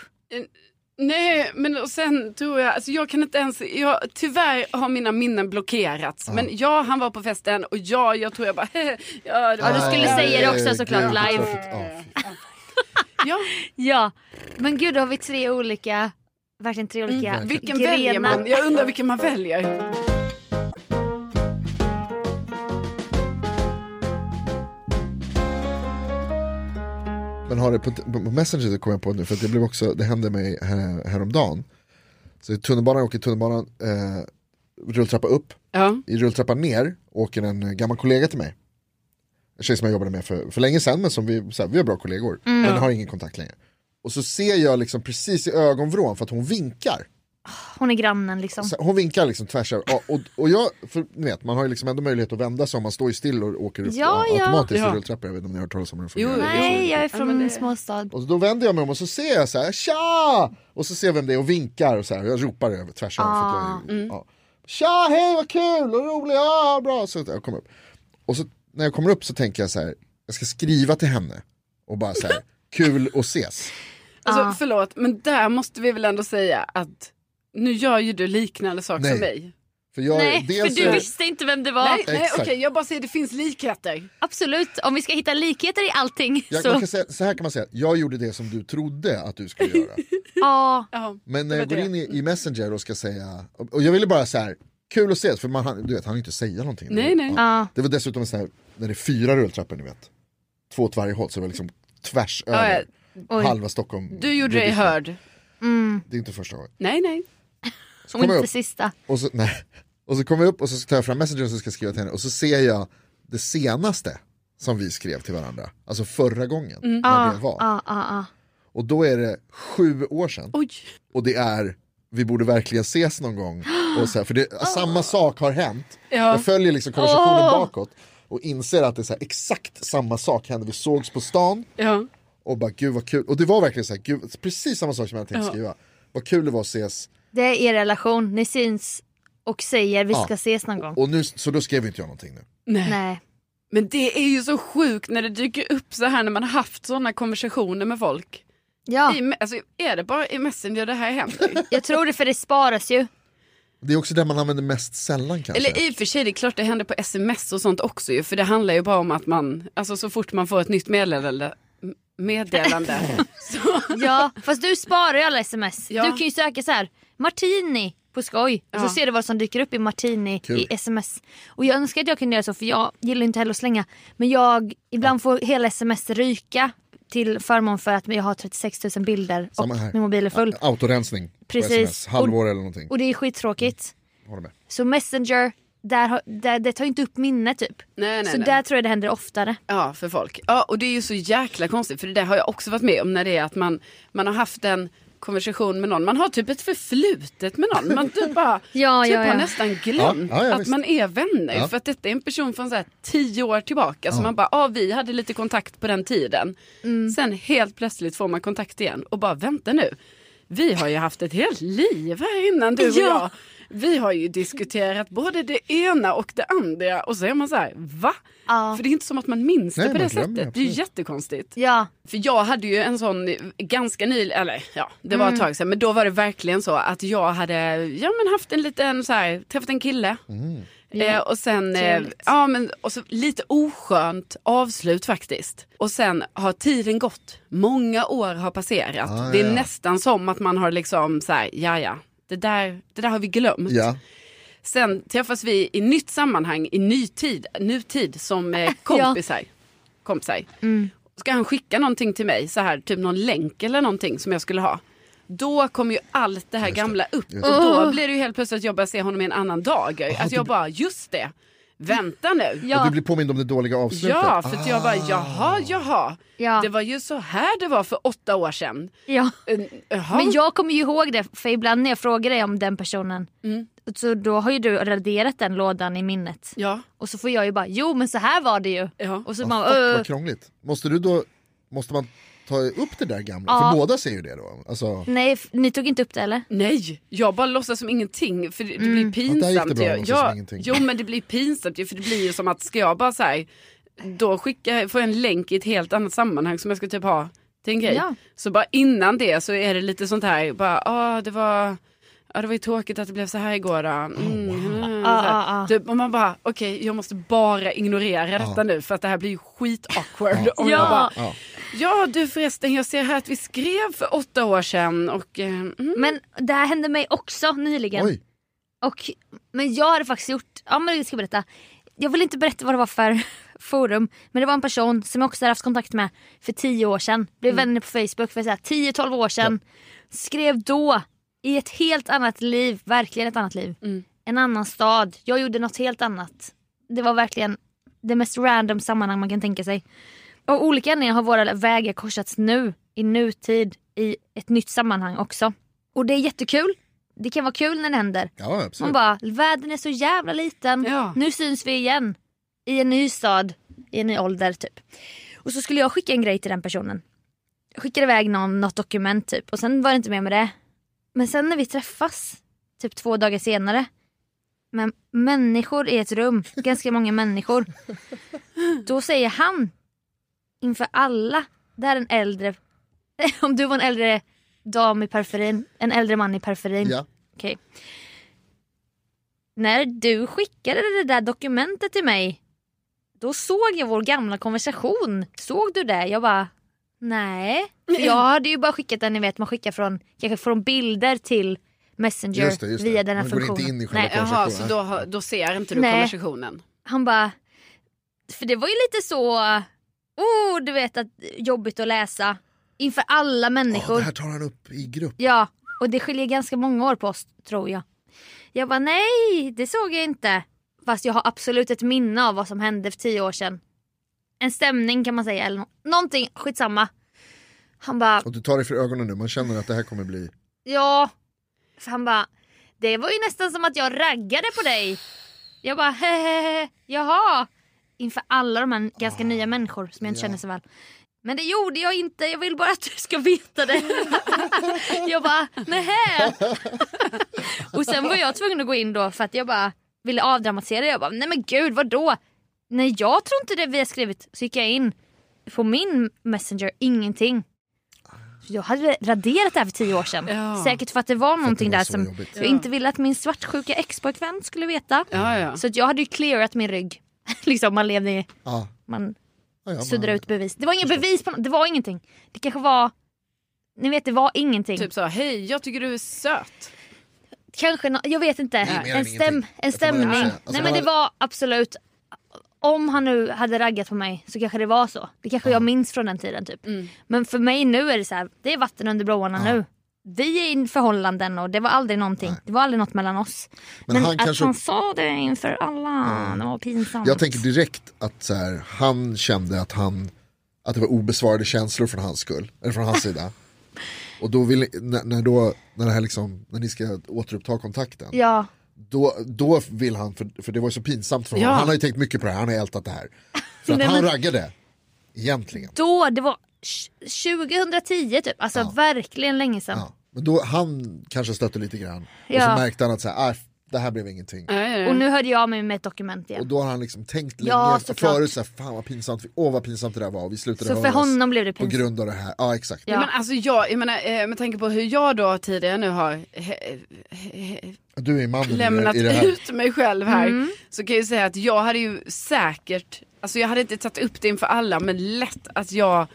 Nej, men och sen tror jag, alltså jag kan inte ens, jag, tyvärr har mina minnen blockerats. Men ja, han var på festen och ja, jag tror jag bara, ja, det var Ja, du så skulle jävla- säga det också gud, såklart det är live. klart att- ja, fy fan. Ja, Ja. Men gud, då har vi tre olika, verkligen tre olika Mm. vilken grenar. väljer man? Jag undrar vilken man väljer. Men har det på, på Messenger det kom jag på nu, för att det, blev också, det hände mig här, häromdagen. Så i tunnelbanan, jag åker tunnelbanan, eh, rulltrappa upp, Ja, i rulltrappan ner åker en eh, gammal kollega till mig. En tjej som jag jobbade med för, för länge sedan, men som vi, så här, vi är bra kollegor, Mm. men har ingen kontakt längre. Och så ser jag liksom precis i ögonvrån för att hon vinkar. Hon är grannen liksom. Så här, hon vinkar liksom tvärs över. Ja, Och, och jag, för, ni vet, man har ju liksom ändå möjlighet att vända sig om man står ju still och åker upp Ja, ja. automatiskt Ja. i rulltrappor. Jag vet inte om ni har hört talas om hur det Jo, fungerar. Nej, jag är från men det- en småstad. Och då vänder jag mig om och så ser jag så här, tja! Och så ser jag vem det är och vinkar och så här, jag ropar över tvärs över. För att jag, ja. Tja, hej vad kul, vad roligt, ja bra. Så jag kommer upp. Och så när jag kommer upp så tänker jag så här, jag ska skriva till henne och bara så här, kul att ses. alltså Ja. förlåt, men där måste vi väl ändå säga att nu gör ju du liknande sak Nej. som mig. För jag, Nej, dels för du är- visste inte vem det var. Nej, nej Exakt. okej, jag bara säger det finns likheter. Absolut, om vi ska hitta likheter i allting jag, man så... kan säga, så här kan man säga, jag gjorde det som du trodde att du skulle göra. Ja, Ja. Men när Det jag var går in i, i Messenger och ska säga, och och jag ville bara så här, kul att ses, för man, hann- du vet, han inte säga någonting. Nej, nej. ja. Det var dessutom en sån här, när det är fyra rulltrappor ni vet. Två åt varje håll, så det var liksom tvärs Ja, över Oj. halva Stockholm. Du gjorde dig Disney. hörd. Mm. Det är inte första gången. Nej, nej. Så Och kommer jag inte upp, sista. och så, nej. Och så kommer jag upp och så tar jag fram Messenger och så ska jag skriva till henne. Och så ser jag det senaste som vi skrev till varandra. Alltså förra gången, Mm. när Ah, Ja, det var. ja, ja, ja. Och då är det sju år sedan. Oj. Och det är, vi borde verkligen ses någon gång. Och så här, för Ah. det, samma sak har hänt. Ja. Jag följer liksom Ah. konversationen Åh. bakåt. Och inser att det är så här, exakt samma sak hände. Vi sågs på stan. Ja. och bara gud vad kul. Och det var verkligen så här, gud, precis samma sak som jag hade tänkt skriva. Vad kul det var att ses. Det är er relation, ni syns och säger vi Ja. ska ses någon gång. Och nu, så då skrev inte jag någonting nu. Nej. Nej. Men det är ju så sjukt när det dyker upp så här när man har haft sådana konversationer med folk. Ja, I, alltså, är det bara i Messenger det här händer? jag tror det för det sparas ju. Det är också det man använder mest sällan kanske. Eller i och för sig, det är klart det händer på sms och sånt också ju. För det handlar ju bara om att man, alltså så fort man får ett nytt meddelande, m- meddelande så, Ja, fast du sparar ju alla sms. Ja. Du kan ju söka så här, Martini på skoj. Och så Ja. ser du vad som dyker upp i Martini Kul. i sms. Och jag önskar att jag kunde göra så för jag gillar inte heller att slänga. Men jag, ibland får hela sms ryka till förmån för att jag har 36 000 bilder och Samma här. min mobil är full. Autorensning Precis. på sms, halvår eller någonting. Och det är skittråkigt. Håller med. Så Messenger, där, har- där, det tar ju inte upp minne typ. nej, nej, så nej. där tror jag det händer oftare. Ja, för folk. Ja, och det är ju så jäkla konstigt för det där har jag också varit med om när det är att man, man har haft en konversation med någon. Man har typ ett förflutet med någon. Man typ bara, Ja, typ ja, ja. har nästan glömt Ja, ja, ja, att visst. man är vänner. Ja. För att detta är en person från så här tio år tillbaka. Så man bara, ja vi hade lite kontakt på den tiden. Mm. Sen helt plötsligt får man kontakt igen och bara, vänta nu. Vi har ju haft ett helt liv här innan du och Ja. jag. Vi har ju diskuterat både det ena och det andra och så är man så här, va? Ja. För det är inte som att man minns Nej, det på man det glömmer, sättet. Det är ju absolut. jättekonstigt. Ja, För jag hade ju en sån ganska ny, eller ja, det var ett Mm. tag sedan, men då var det verkligen så att jag hade, ja men haft en liten så här, träffat en kille. Mm. Eh, och sen, eh, trevligt. ja men och så lite oskönt avslut faktiskt. Och sen har tiden gått, många år har passerat. Ah, det är ja. nästan som att man har liksom så här, ja ja, det där, det där har vi glömt. Ja, Sen träffas vi i nytt sammanhang, i nutid, nutid som eh, kompisar. kompisar. Mm. Ska han skicka någonting till mig, så här, typ någon länk eller någonting som jag skulle ha. Då kommer ju allt det här det. typ. gamla upp Just och då blir det ju helt plötsligt att jag börjar se honom i en annan dager. att jag bara, just det, vänta nu. ja. och du blir påmind om det dåliga avslutet. Ah, Ja, för att jag bara, jaha, jaha. Ja. Det var ju så här det var för åtta år sedan. ja. Eh, Jaha. Men jag kommer ju ihåg det för ibland när jag frågar dig om den personen så då har ju du raderat den lådan i minnet. Ja, Och så får jag ju bara jo men så här var det ju. ja. Och så Ah, man, fuck, "Öh." vad krångligt. Måste, du då, måste man ta upp det där gamla? Ja. För båda ser ju det då. Alltså, nej f- ni tog inte upp det eller? Nej, jag bara låtsas som ingenting för det, det blir Mm. Ja, där gick det pinsamt. bra, ju. låtsas som ja, ingenting. jo men det blir pinsamt ju för det blir ju som att ska jag bara så här, då skicka, får jag en länk i ett helt annat sammanhang som jag ska typ ha till en grej. Ja. Så bara innan det så är det lite sånt här, bara ah det var, ah, det var ju tråkigt att det blev så här igår då. Mm, Oh. mm, så Ah, här. ah, ah. Typ, och man bara okej jag måste bara ignorera Ah. detta nu för att det här blir ju skit awkward. Och jag bara, Ja. ja. ja du förresten jag ser här att vi skrev för åtta år sedan och eh, mm, Men det här hände mig också nyligen. Oj, Och, men jag hade faktiskt gjort, ja men jag ska berätta. Jag vill inte berätta vad det var för forum men det var en person som jag också hade haft kontakt med för 10 år sedan. Blev vänner på Facebook för så här 10-12 år sedan. Skrev då i ett helt annat liv, verkligen ett annat liv. En annan stad, jag gjorde något helt annat. Det var verkligen det mest random sammanhang man kan tänka sig. Av olika anledningar har våra vägar korsats nu, i nutid, i ett nytt sammanhang också. Och det är jättekul. Det kan vara kul när det händer. ja Man absolut. bara, världen är så jävla liten. Ja. Nu syns vi igen. I en ny stad, i en ny ålder typ. Och så skulle jag skicka en grej till den personen. Jag skickade iväg någon, något dokument typ och sen var det inte mer med det. Men sen när vi träffas, typ två dagar senare. Med människor i ett rum, ganska många människor. Då säger han inför alla, det här är en äldre, om du var en äldre dam i periferin, en äldre man i periferin. Ja. Okej. när du skickade det där dokumentet till mig, då såg jag vår gamla konversation. Såg du det? Jag bara, nej. För Jag hade ju bara skickat den ni vet, man skickar från, kanske från bilder till Messenger Just det, just det. via den här Man går funktionen. inte in i själva nej, Jaha, så konversationen. då, har- då ser inte du Nej. konversationen. han bara, för det var ju lite så, oh du vet att jobbigt att läsa inför alla Ja, människor. det här tar han upp i grupp. Ja, och det skiljer ganska många år på oss tror jag. Jag bara nej, det såg jag inte. Fast jag har absolut ett minne av vad som hände för tio år sedan. En stämning kan man säga eller nå- någonting, skitsamma. Han bara, Och du tar dig för ögonen nu, man känner att det här kommer bli... ja. För han bara, det var ju nästan som att jag raggade på dig. Jag bara, hehehe, jaha. Inför alla de här ganska nya människor som jag inte ja. känner så väl. Men det gjorde jag inte, jag vill bara att du ska veta det. jag bara, nähä. Och sen var jag tvungen att gå in då för att jag bara ville avdramatisera. Jag bara, nej men gud vadå? Nej jag tror inte det vi har skrivit. Så gick jag in på min messenger, ingenting. Så jag hade raderat det här för tio år sedan. Ja. Säkert för att det var någonting var där så som jobbigt. jag inte ville att min svartsjuka expojkvän skulle veta. Ja, ja. Så att jag hade ju clearat min rygg. liksom man levde i, Ja, man ja, ja, suddade man- ut bevis. Det var inga bevis, på, nå- det var ingenting. Det kanske var, ni vet det var ingenting. Typ så, hej jag tycker du är söt. Kanske, nå- jag vet inte. mer än en, stäm, ingenting. en får bara stämning. säga. Alltså, Nej men det bara- var absolut, om han nu hade raggat på mig så kanske det var så. Det kanske jag minns från den tiden typ. Men för mig nu är det så här, det är vatten under broarna nu. Vi är i förhållanden och det var aldrig någonting. Det var aldrig något mellan oss. Men, Men han att kanske- han sa det inför alla, det var pinsamt. Jag tänker direkt att så här, han kände att han att det var obesvarade känslor från hans skull, eller från hans sida. Och då vill, när, när då, när det här liksom, när ni ska återuppta kontakten, Ja, då, då vill han, för, för det var ju så pinsamt för honom, Ja. han har ju tänkt mycket på det här, han har ältat det här. För att Nej, han men- raggade, egentligen. då, det var tj- 2010 typ, alltså verkligen länge sedan. Ja. Men då, han kanske stötte lite grann, och Ja. så märkte han att så här, "Ah, det här blev ingenting. Ja, ja, Och ja. nu hörde jag av mig med ett dokument igen. Och då har han liksom tänkt länge Ja, såklart. förut, så här, fan vad pinsamt, vi- åh vad pinsamt det där var, och vi slutade Så för höras honom blev det på pinsamt. grund av det här. Ja exakt. Ja. Men alltså jag, jag menar, eh, med tanke på hur jag då tidigare nu har he, he, he, Du är mannen lämnat Mm, i, i det här. ut mig själv här Mm. så kan jag ju säga att jag hade ju säkert, alltså jag hade inte tagit upp det inför alla men lätt att jag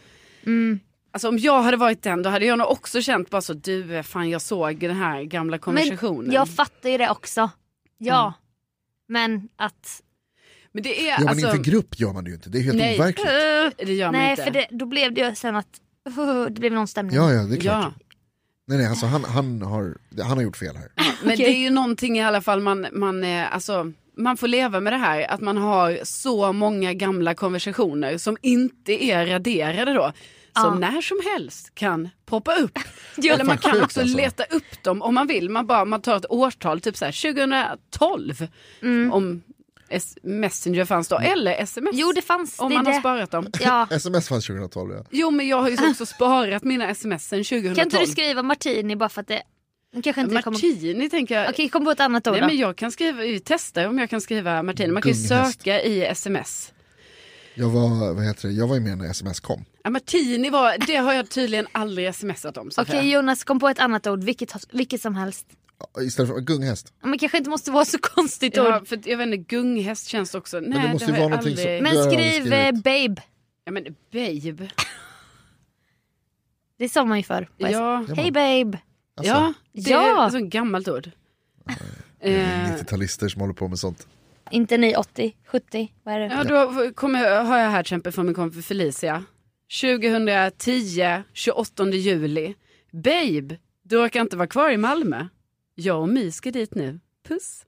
Mm. Alltså om jag hade varit den då hade jag nog också känt bara så du eh, fan jag såg den här gamla konversationen. Men jag fattar ju det också. Ja. Mm. Men att... Men det är Ja men alltså, inför grupp gör man det ju inte, det är helt Nej. overkligt. det gör man uh, nej, inte. för det, då blev det ju sen att... uh, det blev någon stämning. Ja ja det är klart. ja. Nej nej alltså han, han, har, han har gjort fel här. Men det är ju någonting i alla fall man, man, eh, alltså, man får leva med det här att man har så många gamla konversationer som inte är raderade då. Som när som helst kan poppa upp. Eller man fan kan sjukt, också alltså. leta upp dem om man vill. Man, bara, man tar ett årtal, typ så här 2012. Om S- Messenger fanns då, eller sms. Mm. Jo, det fanns. om det, man det. har sparat dem. Ja. Sms fanns 2012 ja. Jo, men jag har ju också sparat mina sms sen 2012. Kan inte du skriva Martini bara för att det... Kanske inte kommer... Okej, Martini tänker jag. kom på ett annat ord Nej, då. men jag kan skriva, vi testar om jag kan skriva Martina. Man kan ju Gunghäst. söka i sms. Jag var, vad heter det, jag var ju med när sms kom. Ja, Martini var, det har jag tydligen aldrig smsat om. Sofia. Okej, Jonas, kom på ett annat ord. Vilket, vilket som helst. Ja, Istället för gunghäst. Ja, Men kanske inte måste vara så konstigt ja, ord. för jag vet inte, gunghäst känns också... Nej, det har måste ju jag vara någonting som- aldrig... det Men har jag skriv eh, skrivit. babe. Ja, men babe. Det sa man ju förr. på S- Ja, Hej babe. Alltså, ja det är Alltså, Ja. ett sånt gammalt ord. det Eh, är 90-talister som håller på med sånt. Inte ni 80, 70, vad är det? ja, då kommer, jag- har jag här till exempel från min kompis Felicia. 2010, 28 juli. Babe, du orkar inte vara kvar i Malmö. Jag och My ska dit nu. Puss.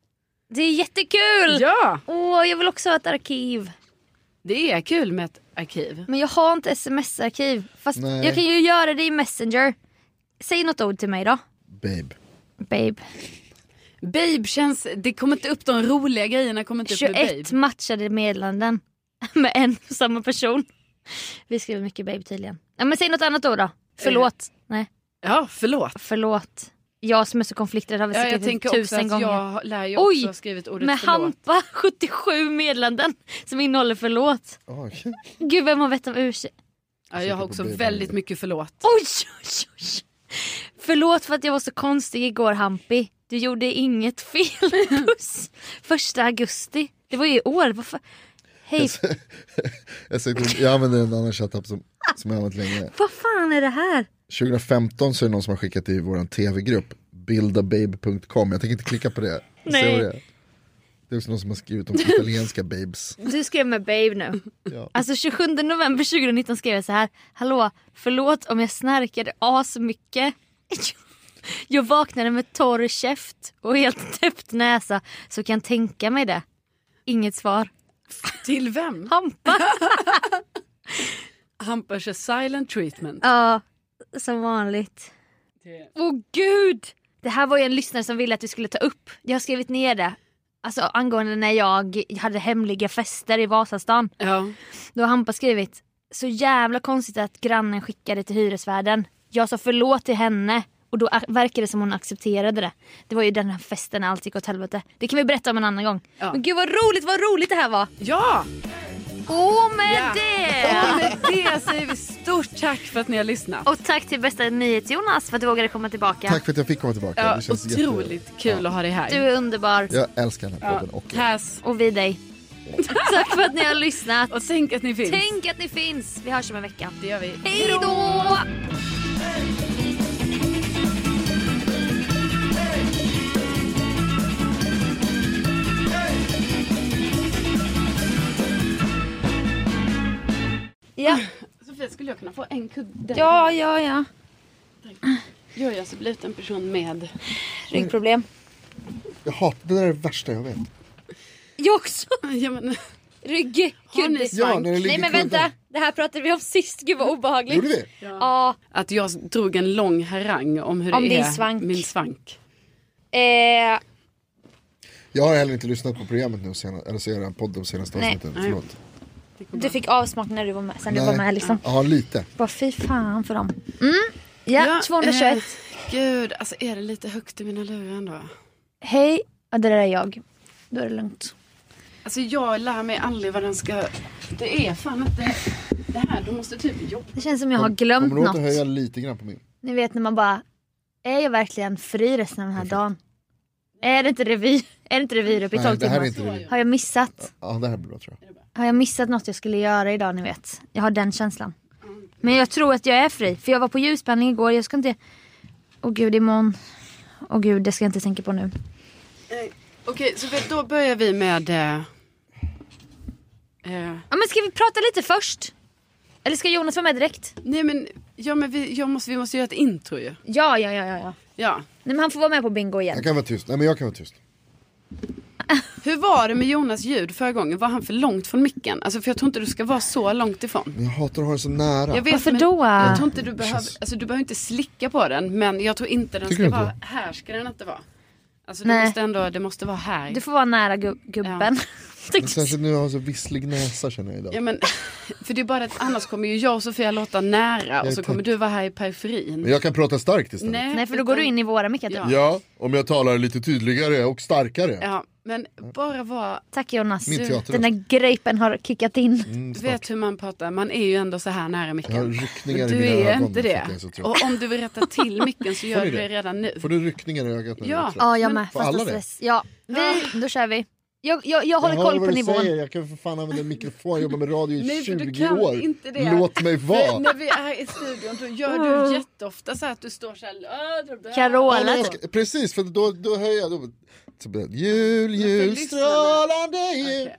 Det är jättekul! Ja! Åh, jag vill också ha ett arkiv. Det är kul med ett arkiv. Men jag har inte sms-arkiv. Fast Nej. jag kan ju göra det i Messenger. Säg något ord till mig då. Babe. Babe. Babe känns, det kommer inte upp de roliga grejerna kommer inte upp Typ med 21 babe. Typ matchade meddelanden med en och samma person. Vi skriver mycket babe tydligen. Ja, men säg något annat ord då. Förlåt. Nej, Ja, förlåt. förlåt. Jag som är så konflikträdd har väl Ja, skrivit jag tänker också tusen att gånger. jag lär ju Oj, också ha skrivit ordet Med förlåt. Hampa, 77 meddelanden som innehåller förlåt. Oj. Gud, vem har vett om ursäkt? Ja, jag har också Babe. väldigt mycket förlåt. Oj, oj, oj. Förlåt för att jag var så konstig igår Hampi. Du gjorde inget fel. Puss. Första augusti. Det var ju i år. Varför? Hej, Jag, säger, jag använder en annan chattapp som, som jag har använt länge. vad fan är det här? 2015 så är det någon som har skickat i vår tv-grupp, bildababe.com. Jag tänker inte klicka på det. Jag ser Nej. vad Det är. Det är också någon som har skrivit om italienska babes. Du skrev med babe nu. Ja. Alltså 27 november 2019 skrev jag så här. Hallå, förlåt om jag snarkade asmycket. Jag vaknade med torr käft och helt täppt näsa så kan tänka mig det. Inget svar. Till vem? Hampa. Hampers a silent treatment. Ja, som vanligt. Åh gud! Det här var ju en lyssnare som ville att vi skulle ta upp. Jag har skrivit ner det. Alltså angående när jag hade hemliga fester i Vasastan. Ja. Då har Hampa skrivit Så jävla konstigt att grannen skickade till hyresvärden. Jag sa förlåt till henne och då a- verkade det som hon accepterade det. Det var ju den här festen när allt gick åt helvete. Det kan vi berätta om en annan gång. Ja. Men gud vad roligt, vad roligt det här var. ja! Och med Ja. det! Och med det säger vi stort tack för att ni har lyssnat. Och tack till bästa nyhet Jonas för att du vågade komma tillbaka. Tack för att jag fick komma tillbaka. Ja, Det känns jätte- otroligt kul att ha dig här. Du är underbar. Jag älskar den här podden och er. Pass. Och vi dig. tack för att ni har lyssnat. Och tänk att ni finns. Tänk att ni finns. Vi hörs om en vecka. Det gör vi. Hej då! Ja, Sofia, skulle jag kunna få en kudde? ja, ja. ja. Jag har alltså blivit en person med... Ryggproblem. Jag hatar, det där är det värsta jag vet. Jag också. Ja, men, Rygg. har ni Kudde. Ja, svank? när det Nej ligger men kudden. vänta. Det här pratade vi om sist. Gud vad obehagligt. Gjorde vi? Ja. Att jag drog en lång harang om hur Om det din är svank. min svank. Eh, Jag har heller inte lyssnat på programmet nu senast, eller så är det en podd de senaste Nej. avsnitten. Förlåt. du fick avsmak när du var med. Sen du var med liksom. Ja, lite. Bara fy fan för dem. Mm. Ja, 221. eh, gud, alltså är det lite högt i mina lurar ändå? Hej, ja, det där är jag. Då är det lugnt. Alltså jag lär mig aldrig vad den ska... Det är fan inte... Det här, du måste typ jobba. Det känns som jag har glömt Kommer du ihåg att höja något. lite grann på min? Ni vet när man bara, är jag verkligen fri resten av den här dagen? Är det inte revy? Är det inte revyrupp i Nej, 12 det här timmar? är inte det. Har jag missat? Ja, det här blir bra tror jag. Har jag missat något jag skulle göra idag ni vet? Jag har den känslan. Men jag tror att jag är fri. För jag var på ljusbehandling igår. Jag ska inte... Åh gud, imorgon. Åh gud, det ska jag inte tänka på nu. Eh, Okej, så vi- då börjar vi med... Eh, eh, Ja men ska vi prata lite först? Eller ska Jonas vara med direkt? nej men, ja, men vi, jag måste, vi måste göra ett intro ju. Ja, ja, ja, ja. ja. Ja. Nej men han får vara med på bingo igen. Jag kan vara tyst. Nej men jag kan vara tyst. Hur var det med Jonas ljud förra gången? Var han för långt från micken? Alltså för jag tror inte du ska vara så långt ifrån. Men jag hatar att ha det så nära. Jag vet, Varför men då? Jag tror inte du behöver, känns- alltså du behöver inte slicka på den men jag tror inte den Tycker ska du inte vara, här ska den inte vara. Alltså du Nej. måste ändå, det måste vara här. Du får vara nära gu- gubben. Men särskilt nu har jag så visslig näsa känner jag idag. Ja men, för det är bara att annars kommer ju jag och Sofia låta nära och så tänk- kommer du vara här i periferin. Men jag kan prata starkt istället. Nej för då går du in i våra mickar typ. Ja. Ja, om jag talar lite tydligare och starkare. Ja, men bara vara, Tack Jonas. Min teaterröst. Den där gripen har kickat in. Mm, du snart. vet hur man pratar, man är ju ändå så här nära jag har micken. ryckningar i Du mina är ögon. inte för att jag det. är så trött. Och om du vill rätta till micken så gör ni du det? det redan nu. Får du ryckningar i ögat nu? Ja. Jag är trött. Ja jag med. Får Fast alla av det? stress. Ja. Vi, då kör vi. Jag, jag, jag håller Jag hör koll vad på du nivån. Säger. Jag kan för fan använda en mikrofon, jag jobbar med radio i Nej, för du 20 kan år. inte det. Låt mig För vara. när vi är i studion då gör Ah. du jätteofta så här att du står så här. "Ah, dra- dra." Ja, men Carola. jag ska, precis, för då, då höjer jag. Då, så blir det, jul, jul, lyssna nu. strålande jul. Okej.